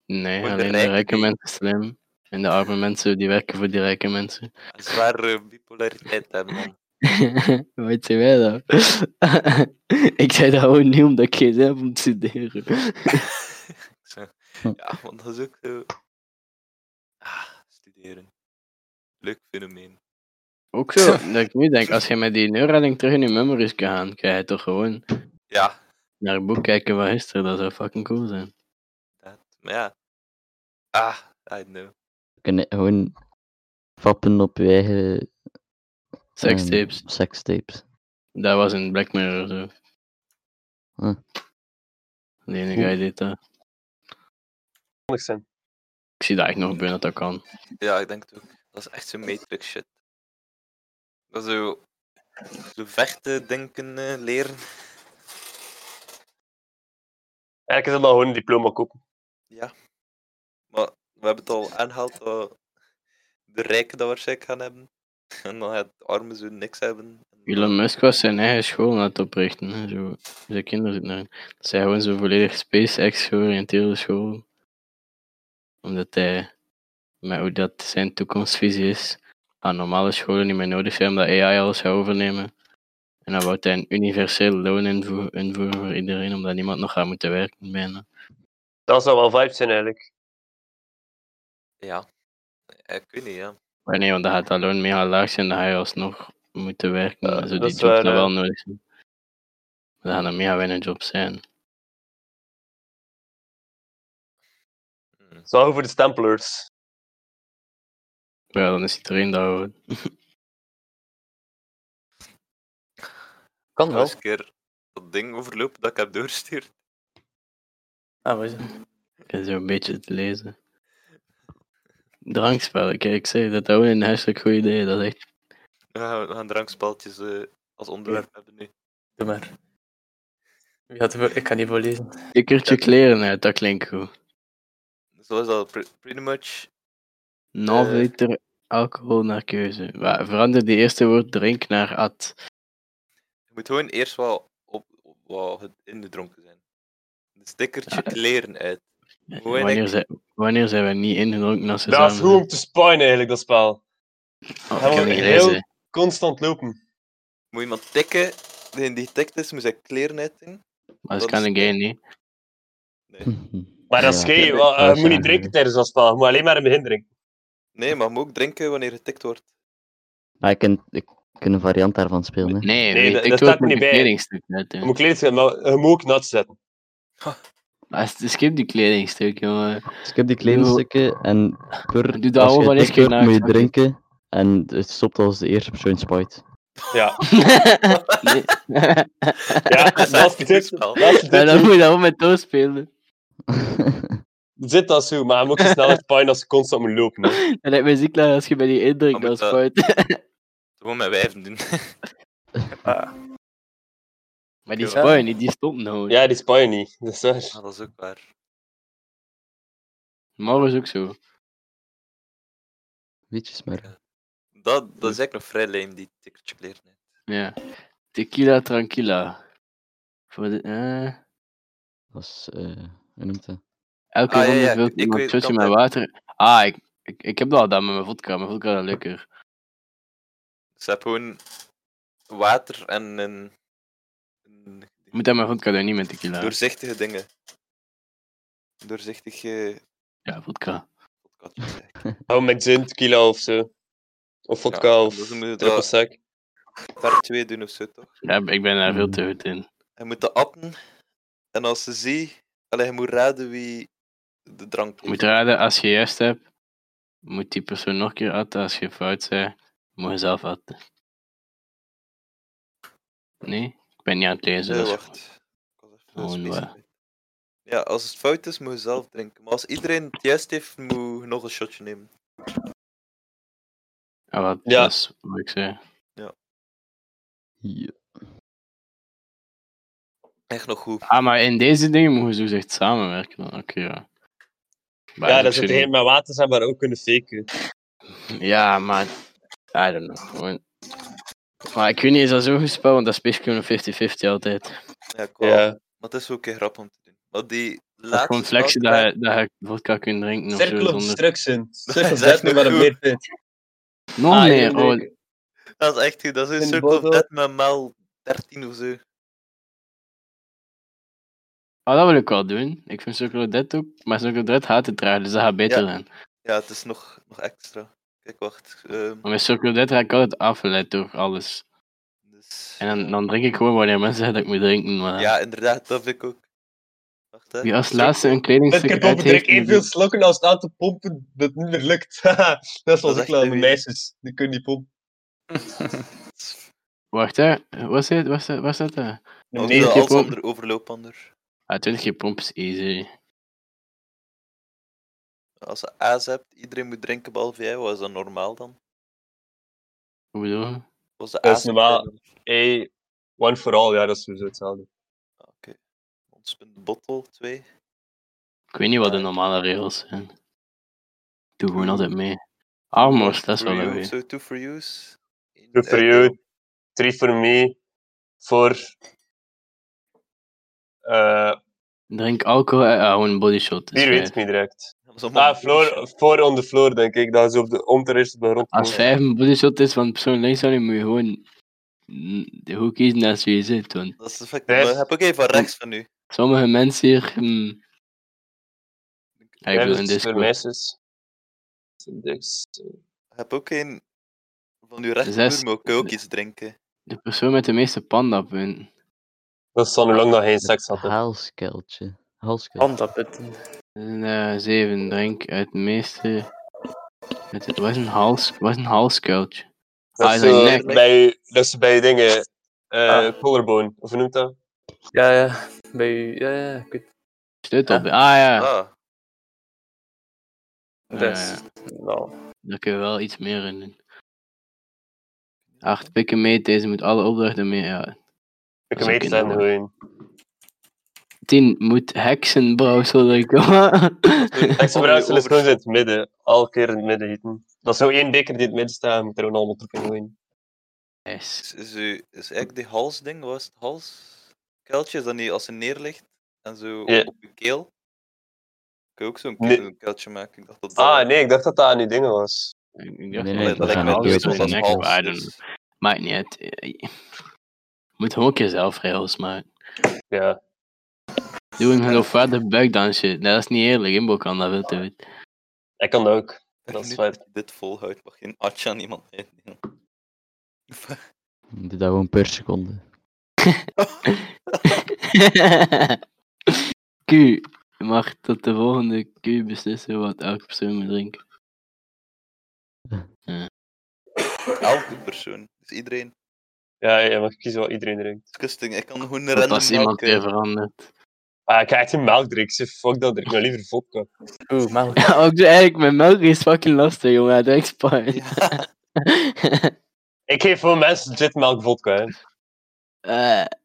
Speaker 4: Nee,
Speaker 5: Voor de
Speaker 4: alleen de
Speaker 5: rijken
Speaker 4: rijke
Speaker 5: die-
Speaker 4: mensen slim. En de arme mensen die werken voor die rijke mensen.
Speaker 5: Een zware eh, bipolariteit hebben, man.
Speaker 4: Wat zei wij dan? ik zei dat gewoon niet omdat ik geen zin heb om te studeren.
Speaker 5: Zo.
Speaker 1: Hm.
Speaker 5: Ja, want dat is ook zo. Ah, studeren. Leuk fenomeen.
Speaker 4: Ook zo, dat ik nu denk, als je met die Neuralink terug in je memories kan gaan, kan je toch gewoon
Speaker 5: Ja,
Speaker 4: naar het boek kijken van gisteren. Dat zou fucking cool zijn.
Speaker 5: dat. Maar ja. Ah, I know.
Speaker 1: Kun je gewoon fappen op je eigen
Speaker 4: Sextapes.
Speaker 1: ehm, sekstapes.
Speaker 4: Dat was in Black Mirror zo.
Speaker 1: Huh.
Speaker 4: De enige guy deed dat.
Speaker 3: Handig zijn.
Speaker 4: Ik zie dat echt nog gebeuren dat dat kan.
Speaker 5: Ja, ik denk het ook. Dat is echt zo'n matrix shit. Dat is zo... Zo vechten, denken, eh, leren.
Speaker 3: Eigenlijk is dat dan gewoon een diploma kopen.
Speaker 5: Maar we hebben het al aangehaald dat de rijken dat waarschijnlijk gaan hebben. En dan gaat de armen zo niks hebben.
Speaker 4: Elon Musk was zijn eigen school aan het oprichten. Hè. Zo, zijn kinderen zitten daarin. Het zijn gewoon zo volledig SpaceX georiënteerde school. Omdat hij, met hoe dat zijn toekomstvisie is, aan normale scholen niet meer nodig zijn omdat AI alles gaat overnemen. En dan wou hij een universeel loon invo- invoeren voor iedereen, omdat niemand nog gaat moeten werken bijna.
Speaker 3: Dat zou wel vibes zijn, eigenlijk.
Speaker 5: Ja. Eh, Ik weet niet, ja.
Speaker 4: Maar nee, want dan gaat dat loon mega laag zijn, dan ga je alsnog moeten werken.
Speaker 3: Ja,
Speaker 4: maar zo
Speaker 3: dat
Speaker 4: die
Speaker 3: is
Speaker 4: jobs
Speaker 3: waar,
Speaker 4: dan
Speaker 3: hè.
Speaker 4: wel nodig zijn. Dan gaan er mega weinig jobs zijn.
Speaker 3: Zorgen voor de stamplers.
Speaker 4: Ja, dan is iedereen daar hoor.
Speaker 3: Kan
Speaker 5: Ik
Speaker 3: wel.
Speaker 5: eens een keer dat ding overlopen dat ik heb doorgestuurd.
Speaker 2: Ah, wat is het?
Speaker 4: Ik heb zo'n beetje te lezen. Drankspellen, kijk, ik zeg dat dat ook een hartstikke goed idee is. Dat is echt
Speaker 5: We gaan, we gaan drankspeltjes eh, als onderwerp hebben nu.
Speaker 2: Doe maar. Wie had er- Ik kan niet voorlezen.
Speaker 4: Tikkertje kleren uit, dat klinkt goed.
Speaker 5: Zoals al pre- pretty much.
Speaker 4: 0,5
Speaker 5: Eh.
Speaker 4: liter alcohol naar keuze. Wa- Verander die eerste woord drink naar at.
Speaker 5: Je moet gewoon eerst wel op, op, wel ingedronken zijn. Een stickertje
Speaker 4: Ja.
Speaker 5: kleren uit. Hoe en
Speaker 4: Wanneer
Speaker 5: ik-
Speaker 4: zijn, wanneer zijn we niet ingedronken als ze
Speaker 3: Dat is
Speaker 4: samen
Speaker 3: hoe om te spinen eigenlijk, dat spel.
Speaker 4: zijn? Oh, ik
Speaker 3: Gewoon
Speaker 4: heb niet
Speaker 3: heel-
Speaker 4: gelezen.
Speaker 3: Constant lopen.
Speaker 5: Moet iemand tikken, degene die getikt is, moet zijn kleren uitdoen.
Speaker 4: Maar dat
Speaker 5: dat
Speaker 4: kan
Speaker 5: is-
Speaker 4: ik geen niet.
Speaker 1: Hm,
Speaker 3: Maar dat is
Speaker 1: Ja.
Speaker 3: gay,
Speaker 5: Ja,
Speaker 3: wel, eh,
Speaker 1: dat
Speaker 3: je
Speaker 1: is
Speaker 3: moet
Speaker 1: waar.
Speaker 3: niet drinken tijdens dat spel, je moet alleen maar een begin drinken.
Speaker 5: Nee, maar je moet ook drinken wanneer getikt wordt.
Speaker 1: Maar Ah, ik kan, ik kan een variant daarvan spelen. Hè.
Speaker 3: Nee,
Speaker 4: Nee, nee
Speaker 3: dat-
Speaker 4: ik
Speaker 3: dat
Speaker 4: doe
Speaker 3: staat
Speaker 4: het met
Speaker 3: niet
Speaker 4: een
Speaker 3: bij.
Speaker 4: kledingstuk net. hè.
Speaker 3: Je moet kleden zetten, maar je moet ook nat zetten.
Speaker 4: Maar s- skip die kledingstuk, jongen.
Speaker 1: Skip die kleine
Speaker 4: Doe-
Speaker 1: stukken en per,
Speaker 4: Doe dat
Speaker 1: als
Speaker 4: gewoon
Speaker 1: je
Speaker 4: wanneer
Speaker 1: tikt
Speaker 4: je
Speaker 1: wordt,
Speaker 4: naar-
Speaker 1: moet je drinken. En het stopt als de eerste persoon spuit.
Speaker 3: Ja,
Speaker 4: nee.
Speaker 3: ja dat is
Speaker 5: echt
Speaker 3: het.
Speaker 5: een goed spel.
Speaker 3: Dat is
Speaker 4: Ja,
Speaker 3: het.
Speaker 4: dan moet je dat ook met doorspelen.
Speaker 3: Zit dat zo, maar je moet ook zo snel als spinen als je constant moet lopen. hè.
Speaker 4: Dat lijkt me ziek laag als je bij die indruk
Speaker 3: Ah,
Speaker 5: Dan
Speaker 4: dat
Speaker 5: moet dat-
Speaker 4: spuit.
Speaker 5: Gewoon met wijven doen.
Speaker 4: Maar die
Speaker 5: Ja.
Speaker 4: spuit niet, die stopt nou.
Speaker 3: Ja, die spinen niet. Dat is waar.
Speaker 5: Ah, dat is ook waar.
Speaker 4: Morgen is ook zo.
Speaker 1: Weet je, maar.
Speaker 5: Dat, dat is eigenlijk nog vrij lame, die tikkertje kleren uit.
Speaker 4: Ja. Tequila tranquila. Voor de, eh,
Speaker 1: Dat is, eh, hoe noemt dat?
Speaker 4: elke
Speaker 5: Ah, ja,
Speaker 4: ronde
Speaker 5: ja,
Speaker 4: vult
Speaker 5: ik
Speaker 4: iemand
Speaker 5: weet-
Speaker 4: shotje
Speaker 5: kan
Speaker 4: met
Speaker 5: dat-
Speaker 4: water. Ah, ik, ik, ik heb dat al gedaan met mijn vodka. Mijn vodka is lekker.
Speaker 5: Dus heb gewoon water en een, een
Speaker 4: Ik moet dat met vodka doen, niet met tequila.
Speaker 5: doorzichtige dingen. Doorzichtige
Speaker 4: Ja, vodka.
Speaker 5: podcastjes eigenlijk.
Speaker 3: Hou met gin, tequila of zo. Of vodka
Speaker 5: Ja,
Speaker 3: of
Speaker 5: dus dan moet je
Speaker 3: triple
Speaker 5: dat-
Speaker 3: sec.
Speaker 5: Part 2 doen of zo toch?
Speaker 4: Ja, ik ben daar veel
Speaker 1: Mm.
Speaker 4: te goed in.
Speaker 5: Hij moet dat appen. En als ze zie, allee, hij moet raden wie de drank
Speaker 4: Je
Speaker 5: heeft.
Speaker 4: moet raden, als je juist hebt, moet die persoon nog een keer atten. Als je fout zei, moet je zelf atten. Nee? Ik ben niet aan het lezen. dus-
Speaker 5: Nee,
Speaker 4: dat is
Speaker 5: wacht.
Speaker 4: goed.
Speaker 5: Ik was even
Speaker 4: Gewoon
Speaker 5: specifiek.
Speaker 4: waar.
Speaker 5: Ja, als het fout is, moet je zelf drinken. Maar als iedereen het juist heeft, moet je nog een shotje nemen.
Speaker 4: Ah, wat,
Speaker 3: Ja.
Speaker 4: dat is wat ik zei.
Speaker 1: Ja.
Speaker 5: Echt nog goed.
Speaker 4: Ah, maar in deze dingen mogen ze dus echt samenwerken. dan. Oké, ja. Maar
Speaker 3: Ja,
Speaker 4: ook
Speaker 3: dat
Speaker 4: zo
Speaker 3: zit geen
Speaker 4: niet-
Speaker 3: met water zijn, maar ook kunnen faken.
Speaker 4: Ja, maar... I don't know. Gewoon... Maar ik weet niet, is dat zo gespeeld? Want dat is basically een 50-50 altijd.
Speaker 5: Ja, ik wou-
Speaker 3: Ja.
Speaker 5: Maar het is ook een grap om te doen. Maar die
Speaker 4: Dat is
Speaker 5: laatste...
Speaker 4: gewoon flexen dat
Speaker 5: speltrack-
Speaker 4: je, dat je vodka kunt drinken of zo.
Speaker 3: Cirkel of
Speaker 4: Zonder...
Speaker 3: destruction. Cirkel
Speaker 5: is
Speaker 3: zet
Speaker 5: echt
Speaker 3: me
Speaker 5: een
Speaker 3: maar een
Speaker 5: goed.
Speaker 3: meerpunt.
Speaker 4: Nog
Speaker 3: Ah, één
Speaker 4: meer, oh,
Speaker 3: ding.
Speaker 5: Dat is echt goed. Dat is een
Speaker 3: In de
Speaker 5: circle of
Speaker 3: botel.
Speaker 5: death met maal 13 of zo.
Speaker 4: Ah, dat wil ik wel doen. Ik vind Circle of Death ook, maar Circle of Death haat het traag, dus dat gaat beter
Speaker 5: Ja.
Speaker 4: zijn.
Speaker 5: Ja, het is nog, nog extra. Kijk, wacht. ehm,
Speaker 4: Maar met Circle of Death raak ik altijd afgeleid door alles.
Speaker 5: dus...
Speaker 4: En dan, dan drink ik gewoon wanneer mensen zeggen dat ik moet drinken, maar...
Speaker 5: Ja, inderdaad, dat vind ik ook. Wacht, hè.
Speaker 4: Wie als laatste een
Speaker 3: Dit
Speaker 4: kledingstuk
Speaker 3: keer pompen
Speaker 4: uit
Speaker 3: drink
Speaker 4: heeft...
Speaker 3: evenveel slokken als het aantal pompen dat niet meer lukt. Haha, dat is
Speaker 5: Dat is
Speaker 3: als ik
Speaker 5: echt
Speaker 3: laat de
Speaker 5: een
Speaker 3: meisjes. Die kunnen niet pompen.
Speaker 4: Wacht, hè. Wat is was dat? Was dat eh?
Speaker 3: De
Speaker 5: Als
Speaker 4: nee,
Speaker 5: de
Speaker 4: ik heb
Speaker 3: meisjes.
Speaker 4: ook-
Speaker 5: Alexander overloopt ander.
Speaker 4: Ah, 20 keer pomp is easy.
Speaker 5: Als je aas hebt, iedereen moet drinken behalve jij. Wat is dat normaal dan?
Speaker 4: Hoe bedoel je?
Speaker 5: Was de
Speaker 3: Dat is
Speaker 5: aas
Speaker 3: normaal. Hey, one for all, ja, dat is sowieso hetzelfde.
Speaker 5: Ah, Oké. Ons punt de bottel, 2.
Speaker 4: Ik weet niet wat de
Speaker 3: Ja.
Speaker 4: normale regels zijn. Doe gewoon
Speaker 5: Oeh.
Speaker 4: altijd mee. Armors, dat is wel een
Speaker 5: you,
Speaker 4: goeie.
Speaker 5: zo, two for yous. Eén
Speaker 4: Eh,
Speaker 3: Two for
Speaker 5: uit-
Speaker 3: you, three for me, four. Eh,
Speaker 4: Drink alcohol, eh, ah, gewoon body shot. is
Speaker 3: hier weet
Speaker 4: vijf.
Speaker 3: ik niet direct.
Speaker 5: Dat is allemaal
Speaker 3: Ah, floor, four on the floor, denk ik. Dat is op de, om te eerst op de grond.
Speaker 4: Als
Speaker 3: komen.
Speaker 4: vijf een body shot is van de persoon links van je, moet je gewoon mm, de hoek kiezen als je zit. Want
Speaker 5: Dat is effect.
Speaker 3: Vijf.
Speaker 5: Maar heb ook even van rechts van u.
Speaker 4: sommige mensen hier. mm, ja,
Speaker 3: Vijf
Speaker 4: ik bedoel,
Speaker 3: is
Speaker 4: in
Speaker 3: voor
Speaker 4: Discord.
Speaker 3: meisjes. Dus,
Speaker 5: Heb ook een van uw rechterboer,
Speaker 4: Zes.
Speaker 5: maar ook, kan ook iets drinken.
Speaker 4: De persoon met de meeste pandapunten.
Speaker 3: Dat is dan hoe lang dat geen seks had. hè.
Speaker 4: Ah,
Speaker 1: Haalskeltje. Haalskeltje.
Speaker 2: Pandaputten.
Speaker 4: En, eh, zeven drink uit de meeste. Het het was een hals, was een halskuiltje.
Speaker 3: Dat
Speaker 4: Ah,
Speaker 3: is eh,
Speaker 4: zijn
Speaker 3: zo
Speaker 4: nek.
Speaker 3: bij, je- dat is bij je dingen. eh
Speaker 2: Ah.
Speaker 3: Collarbone, of hoe noemt dat?
Speaker 2: Ja, ja. Bij u. Ja, ja. Ik weet
Speaker 4: Sleutel.
Speaker 2: Ah.
Speaker 4: Ah ja,
Speaker 5: Ah,
Speaker 2: Dus. Nou.
Speaker 4: daar kun je wel iets meer in doen. Hard pikken mee, deze moet alle opdrachten mee. Ja.
Speaker 3: Ik
Speaker 4: Zo
Speaker 3: weet het
Speaker 4: kunnen
Speaker 3: zijn
Speaker 4: we.
Speaker 3: gewoon.
Speaker 4: 10 moet heksen, brouwsel komen.
Speaker 3: Extra
Speaker 5: Onder-
Speaker 3: bruisel is gewoon in
Speaker 5: over-
Speaker 3: het midden. Al keer in het midden hieten. Dat is zo één beker die in het midden staat, moet er gewoon allemaal terug in gooien.
Speaker 4: Nice.
Speaker 5: Is, is, u- is eigenlijk die halsding, wat is het hals? Kuiltje, is dat niet als ze neerligt en zo
Speaker 3: Ja.
Speaker 5: op je keel? Kun je ook zo'n
Speaker 3: Nee.
Speaker 5: zo'n kuiltje maken? Ik dacht dat dat-
Speaker 3: Ah, nee, ik dacht dat dat aan die dingen was.
Speaker 4: Ik dacht
Speaker 1: Nee, nee,
Speaker 4: dat
Speaker 5: Allee,
Speaker 4: het
Speaker 5: dat lijkt
Speaker 4: een
Speaker 5: me
Speaker 1: dat
Speaker 4: halve
Speaker 1: is
Speaker 5: dood
Speaker 4: tot
Speaker 5: als
Speaker 1: een
Speaker 5: een
Speaker 4: een heks
Speaker 5: hals.
Speaker 4: waren.
Speaker 5: dus-
Speaker 4: Maakt niet uit. Je moet gewoon een keer zelf regels maken.
Speaker 3: Ja.
Speaker 4: Doe een geloofwaardig buikdansje. Nee, dat is niet eerlijk. Imbo kan dat wel te weten.
Speaker 3: Ik kan dat ook.
Speaker 5: Als
Speaker 3: Dat
Speaker 5: je
Speaker 3: is
Speaker 5: nu
Speaker 3: waar.
Speaker 5: dit volhoudt, mag je een atje aan iemand uitnemen.
Speaker 1: Doe dat gewoon per seconde.
Speaker 4: Q. Je mag tot de volgende Q beslissen wat elke persoon moet drinken.
Speaker 5: Elke persoon. Dus iedereen.
Speaker 3: Ja, je mag kiezen wat iedereen drinkt.
Speaker 5: Kusting, ik kan gewoon
Speaker 4: Dat
Speaker 5: random eh.
Speaker 4: was iemand
Speaker 5: melken.
Speaker 4: weer veranderd.
Speaker 3: Ah, ik ga echt geen melk drinken. zeg, Fuck dat, drink maar liever vodka.
Speaker 2: Oeh, melk.
Speaker 4: Ja, ook zo eigenlijk, mijn melk is fucking lastig, jongen. Hij drinkt Spanje.
Speaker 5: Ja.
Speaker 3: Ik geef voor mensen dit melk vodka, hè.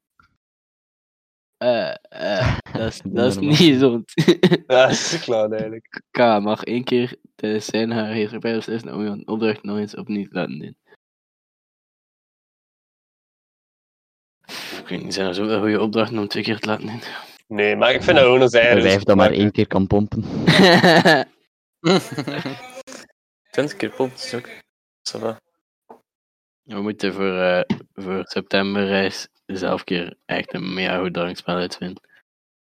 Speaker 4: Eh, eh, eh, dat is-
Speaker 1: Doe
Speaker 4: dat is
Speaker 1: normaal.
Speaker 4: niet gezond.
Speaker 3: Ja, ziek laat eigenlijk.
Speaker 4: K mag één keer tijdens zijn haar heerschappij beslissen om een opdracht nog eens opnieuw te laten doen. Ik weet niet, zijn er zoveel goede opdrachten om twee keer te laten doen?
Speaker 3: Nee, maar ik vind dat gewoon als
Speaker 1: Een
Speaker 3: eieren. dus
Speaker 1: wijf dat maar één keer kan pompen.
Speaker 2: 20 keer pompt is ook. Ça va.
Speaker 4: We moeten voor, eh, voor septemberreis zelf keer echt een mega goed drankspel uitvinden.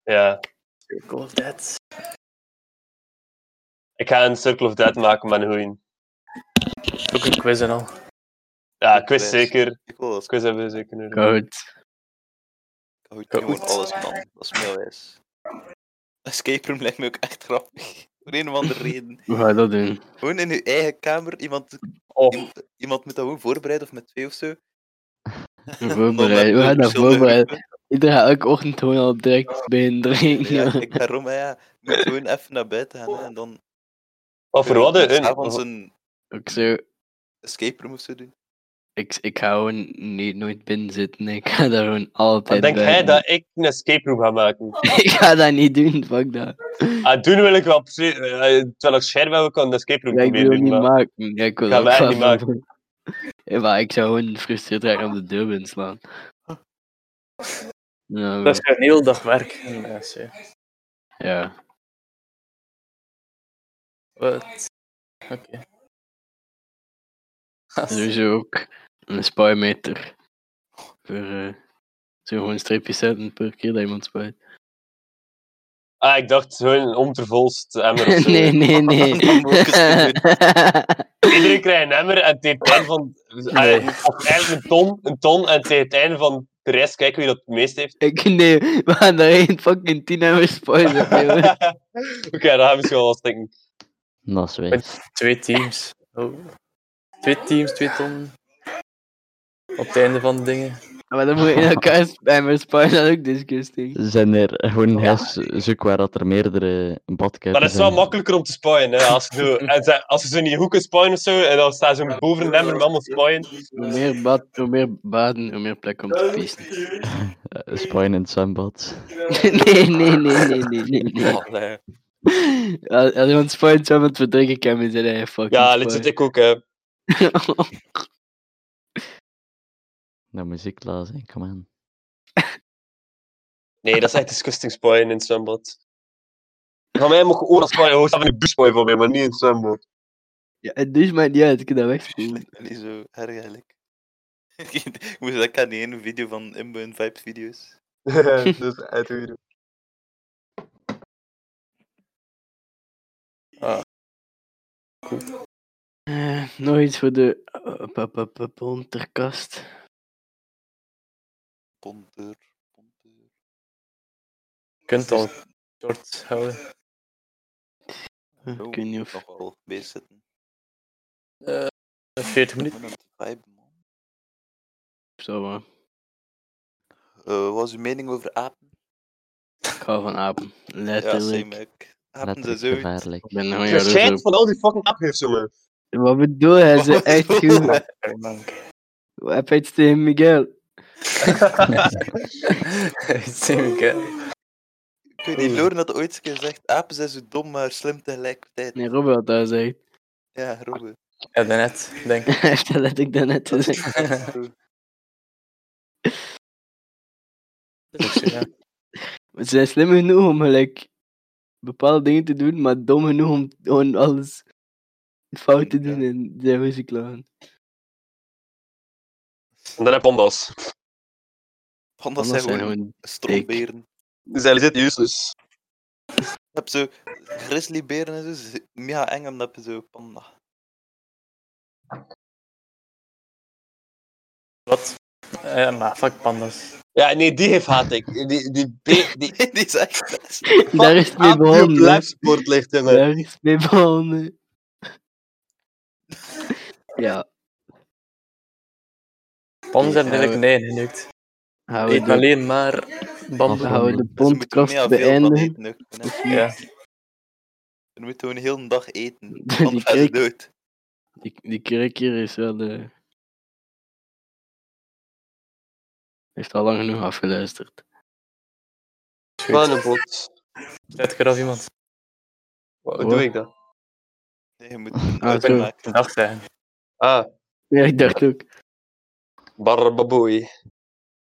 Speaker 3: Ja.
Speaker 2: Circle of Death.
Speaker 3: Ik ga een Circle of Death maken met een goeie.
Speaker 2: Ook een quiz en al.
Speaker 3: Ja, quiz zeker.
Speaker 5: Ik wil dat
Speaker 3: Quiz hebben we zeker nodig.
Speaker 4: Koud.
Speaker 5: goed,
Speaker 2: Goed.
Speaker 5: gewoon alles kan. Dat is heel wijs. Escape room lijkt me ook echt grappig. Voor een of andere reden.
Speaker 4: Hoe ga je dat doen?
Speaker 5: Gewoon in uw eigen kamer. Iemand,
Speaker 3: Of,
Speaker 4: Oh.
Speaker 5: iemand, iemand moet dat gewoon voorbereiden of met twee of zo.
Speaker 4: Voorbereid.
Speaker 5: Dan met
Speaker 4: Hoe ga je dat
Speaker 5: verschillende
Speaker 4: voorbereiden?
Speaker 5: groepen.
Speaker 4: Iedereen gaat elke ochtend gewoon al direct beginnen drinken.
Speaker 5: Ja,
Speaker 4: joh.
Speaker 5: ik daarom, hè, ja. Je moet gewoon even naar buiten gaan hè, en dan...
Speaker 3: of voor wat
Speaker 5: Een...
Speaker 3: een...
Speaker 5: S'avonds een
Speaker 4: Ook zo,
Speaker 5: escape room of zo doen.
Speaker 4: ik, ik ga gewoon niet, nooit binnen zitten. Ik ga daar gewoon altijd
Speaker 3: Wat denk jij
Speaker 4: buiten.
Speaker 3: dat ik een escape room ga maken?
Speaker 4: Ik ga dat niet doen, fuck dat.
Speaker 3: Ah, doen wil ik wel precies... eh, terwijl ik scherp ben, wil ik al een escape room
Speaker 4: Ja, ik wil
Speaker 3: proberen
Speaker 4: het
Speaker 3: doen,
Speaker 4: niet
Speaker 3: maar...
Speaker 4: maken. Ja, ik wil
Speaker 3: Ik ga mij
Speaker 4: ook wel
Speaker 3: niet maken.
Speaker 4: doen. Ja, maar ik zou gewoon gefrustreerd raken om de deur binnen te slaan. Ja,
Speaker 2: Dat is een heel dag werk. en eh, Mensen.
Speaker 4: ja.
Speaker 2: Wat? Oké.
Speaker 4: sowieso ook een spuimeter. Voor eh, zo gewoon streepjes zetten per keer dat iemand spuit.
Speaker 3: Ah, ik dacht gewoon een omtervolst emmer of zo.
Speaker 4: nee, nee, nee.
Speaker 5: Dan moet ik het
Speaker 3: Iedereen krijgt een emmer en tegen het einde van...
Speaker 2: Nee.
Speaker 3: eh, Of eigenlijk een ton, een ton en tegen het einde van de rest kijken wie dat het meest heeft.
Speaker 4: ik, nee, we gaan daar één fucking tien hebben spuien.
Speaker 3: Oké, daar gaan we misschien wel wat denken.
Speaker 1: Dat is wijs.
Speaker 2: Twee teams. Oh. Twee teams, twee tonnen. Op het einde van de dingen.
Speaker 4: maar dan moet je in elkaar spuien, spuien dat is ook disgusting.
Speaker 1: Zijn er gewoon een huis zoek waar dat er meerdere badkuipen
Speaker 3: Maar dat is
Speaker 1: zijn.
Speaker 3: wel makkelijker om te spuien. Hè? Als, je zo, en ze- als ze zo in die hoeken spuien of zo, en dan staan ze boven een emmer met allemaal spuien.
Speaker 4: Dus Hoe meer, bad, hoe meer baden, hoe meer plek om te pissen.
Speaker 1: Eh, Spuien in het zwembad.
Speaker 4: nee, nee, nee, nee, nee, nee, nee.
Speaker 5: eh, Oh, nee.
Speaker 4: Als als iemand spuit, zou iemand verdrinken kan in zijn eigen fucking
Speaker 3: Ja,
Speaker 4: spuit.
Speaker 3: legit ik ook. Hè.
Speaker 1: Dat muziek laat zijn, kom aan.
Speaker 3: Nee, dat is echt disgusting spuien in het zwembad. Van mij mogen oren spuien, hoor, dat in de bus spuien van mij, maar niet in het zwembad.
Speaker 4: ja, het douche maakt niet uit, ik kan dat wegspoelen.
Speaker 5: Lijkt me niet zo erg eigenlijk. ik moest dat aan die ene video van Inbound Vibes video's.
Speaker 3: dat is echt weird.
Speaker 4: Eh, nog iets voor de eh, pa- pa- pa- ponterkast.
Speaker 5: Ponter, ponter.
Speaker 2: Je kunt al short houden.
Speaker 4: Eh, Ik
Speaker 5: Oh,
Speaker 4: weet niet of...
Speaker 5: Nog wel bezig zitten.
Speaker 2: Eh, 40 minuten.
Speaker 5: Gewoon aan de vibe, man.
Speaker 4: Zo, maar.
Speaker 5: Eh, wat was uw mening over apen?
Speaker 4: Ik hou van apen.
Speaker 5: Ja,
Speaker 4: Letterlijk.
Speaker 5: same ook. Apen zijn
Speaker 1: Letterlijk
Speaker 5: zo...
Speaker 4: ik
Speaker 1: gevaarlijk.
Speaker 4: ben gewoon
Speaker 3: Oh Ja,
Speaker 4: jaloers
Speaker 3: Schijt
Speaker 4: op.
Speaker 3: van al die fucking app heeft zo, man.
Speaker 4: Wat bedoel je? Ze
Speaker 5: Wat
Speaker 4: echt
Speaker 5: bedoel
Speaker 4: goed.
Speaker 5: je?
Speaker 2: per man.
Speaker 4: Heb je iets tegen Miguel? eh,
Speaker 2: Zeker.
Speaker 5: Ik weet niet, Loren had ooit eens een keer gezegd, apen zijn zo dom, maar slim tegelijkertijd.
Speaker 4: Nee, Robbe had dat gezegd.
Speaker 5: Ja, Robbe.
Speaker 2: Ja, daarnet, denk ik.
Speaker 4: Hij heeft dat let ik daarnet gezegd.
Speaker 2: Ja.
Speaker 4: Ze zijn slim genoeg om gelijk bepaalde dingen te doen, maar dom genoeg om gewoon alles fout te doen en zijn ruzie klagen.
Speaker 3: En dan heb je pandas.
Speaker 5: Pandas
Speaker 4: Anders
Speaker 5: zijn
Speaker 4: zijn
Speaker 5: gewoon
Speaker 4: gewoon...
Speaker 5: stroomberen.
Speaker 3: Dus hij zit useless.
Speaker 5: Je hebt zo grizzlyberen en zo, ze zijn mega eng omdat je zo panda.
Speaker 2: Wat? Eh, maar fuck pandas.
Speaker 3: Ja, nee, die heeft haat ik. Die, die, be- die
Speaker 5: Die is echt best.
Speaker 4: Daar is het mee
Speaker 3: aap die op
Speaker 4: begonnen.
Speaker 3: lijfsport ligt, jongen.
Speaker 4: Daar is het mee begonnen. Ja,
Speaker 2: Pandas hebben
Speaker 4: Ja,
Speaker 2: eigenlijk
Speaker 4: we-
Speaker 2: een ei genukt.
Speaker 4: gaan we
Speaker 2: Eet
Speaker 4: de,
Speaker 2: alleen maar bamboe.
Speaker 4: gaan we de
Speaker 5: Dus je moet er
Speaker 4: podcast
Speaker 5: mega veel van
Speaker 4: beëindigen?
Speaker 5: eten ook, hè.
Speaker 4: Of niet?
Speaker 2: Ja.
Speaker 5: Je moet gewoon een hele dag eten.
Speaker 4: Die
Speaker 5: Anders ga je
Speaker 4: krik.
Speaker 5: dood.
Speaker 4: Die, die krik hier is wel eh, de... Heeft al lang genoeg afgeluisterd.
Speaker 3: Banenbot.
Speaker 2: Zet ik er af iemand.
Speaker 3: Wat
Speaker 4: Hoor.
Speaker 3: doe ik dan?
Speaker 5: Nee, je moet een
Speaker 4: Ah,
Speaker 5: ah,
Speaker 4: zo.
Speaker 5: maken.
Speaker 2: Dag zijn.
Speaker 3: Ah,
Speaker 4: Ja, ik dacht ook.
Speaker 3: barbaboei.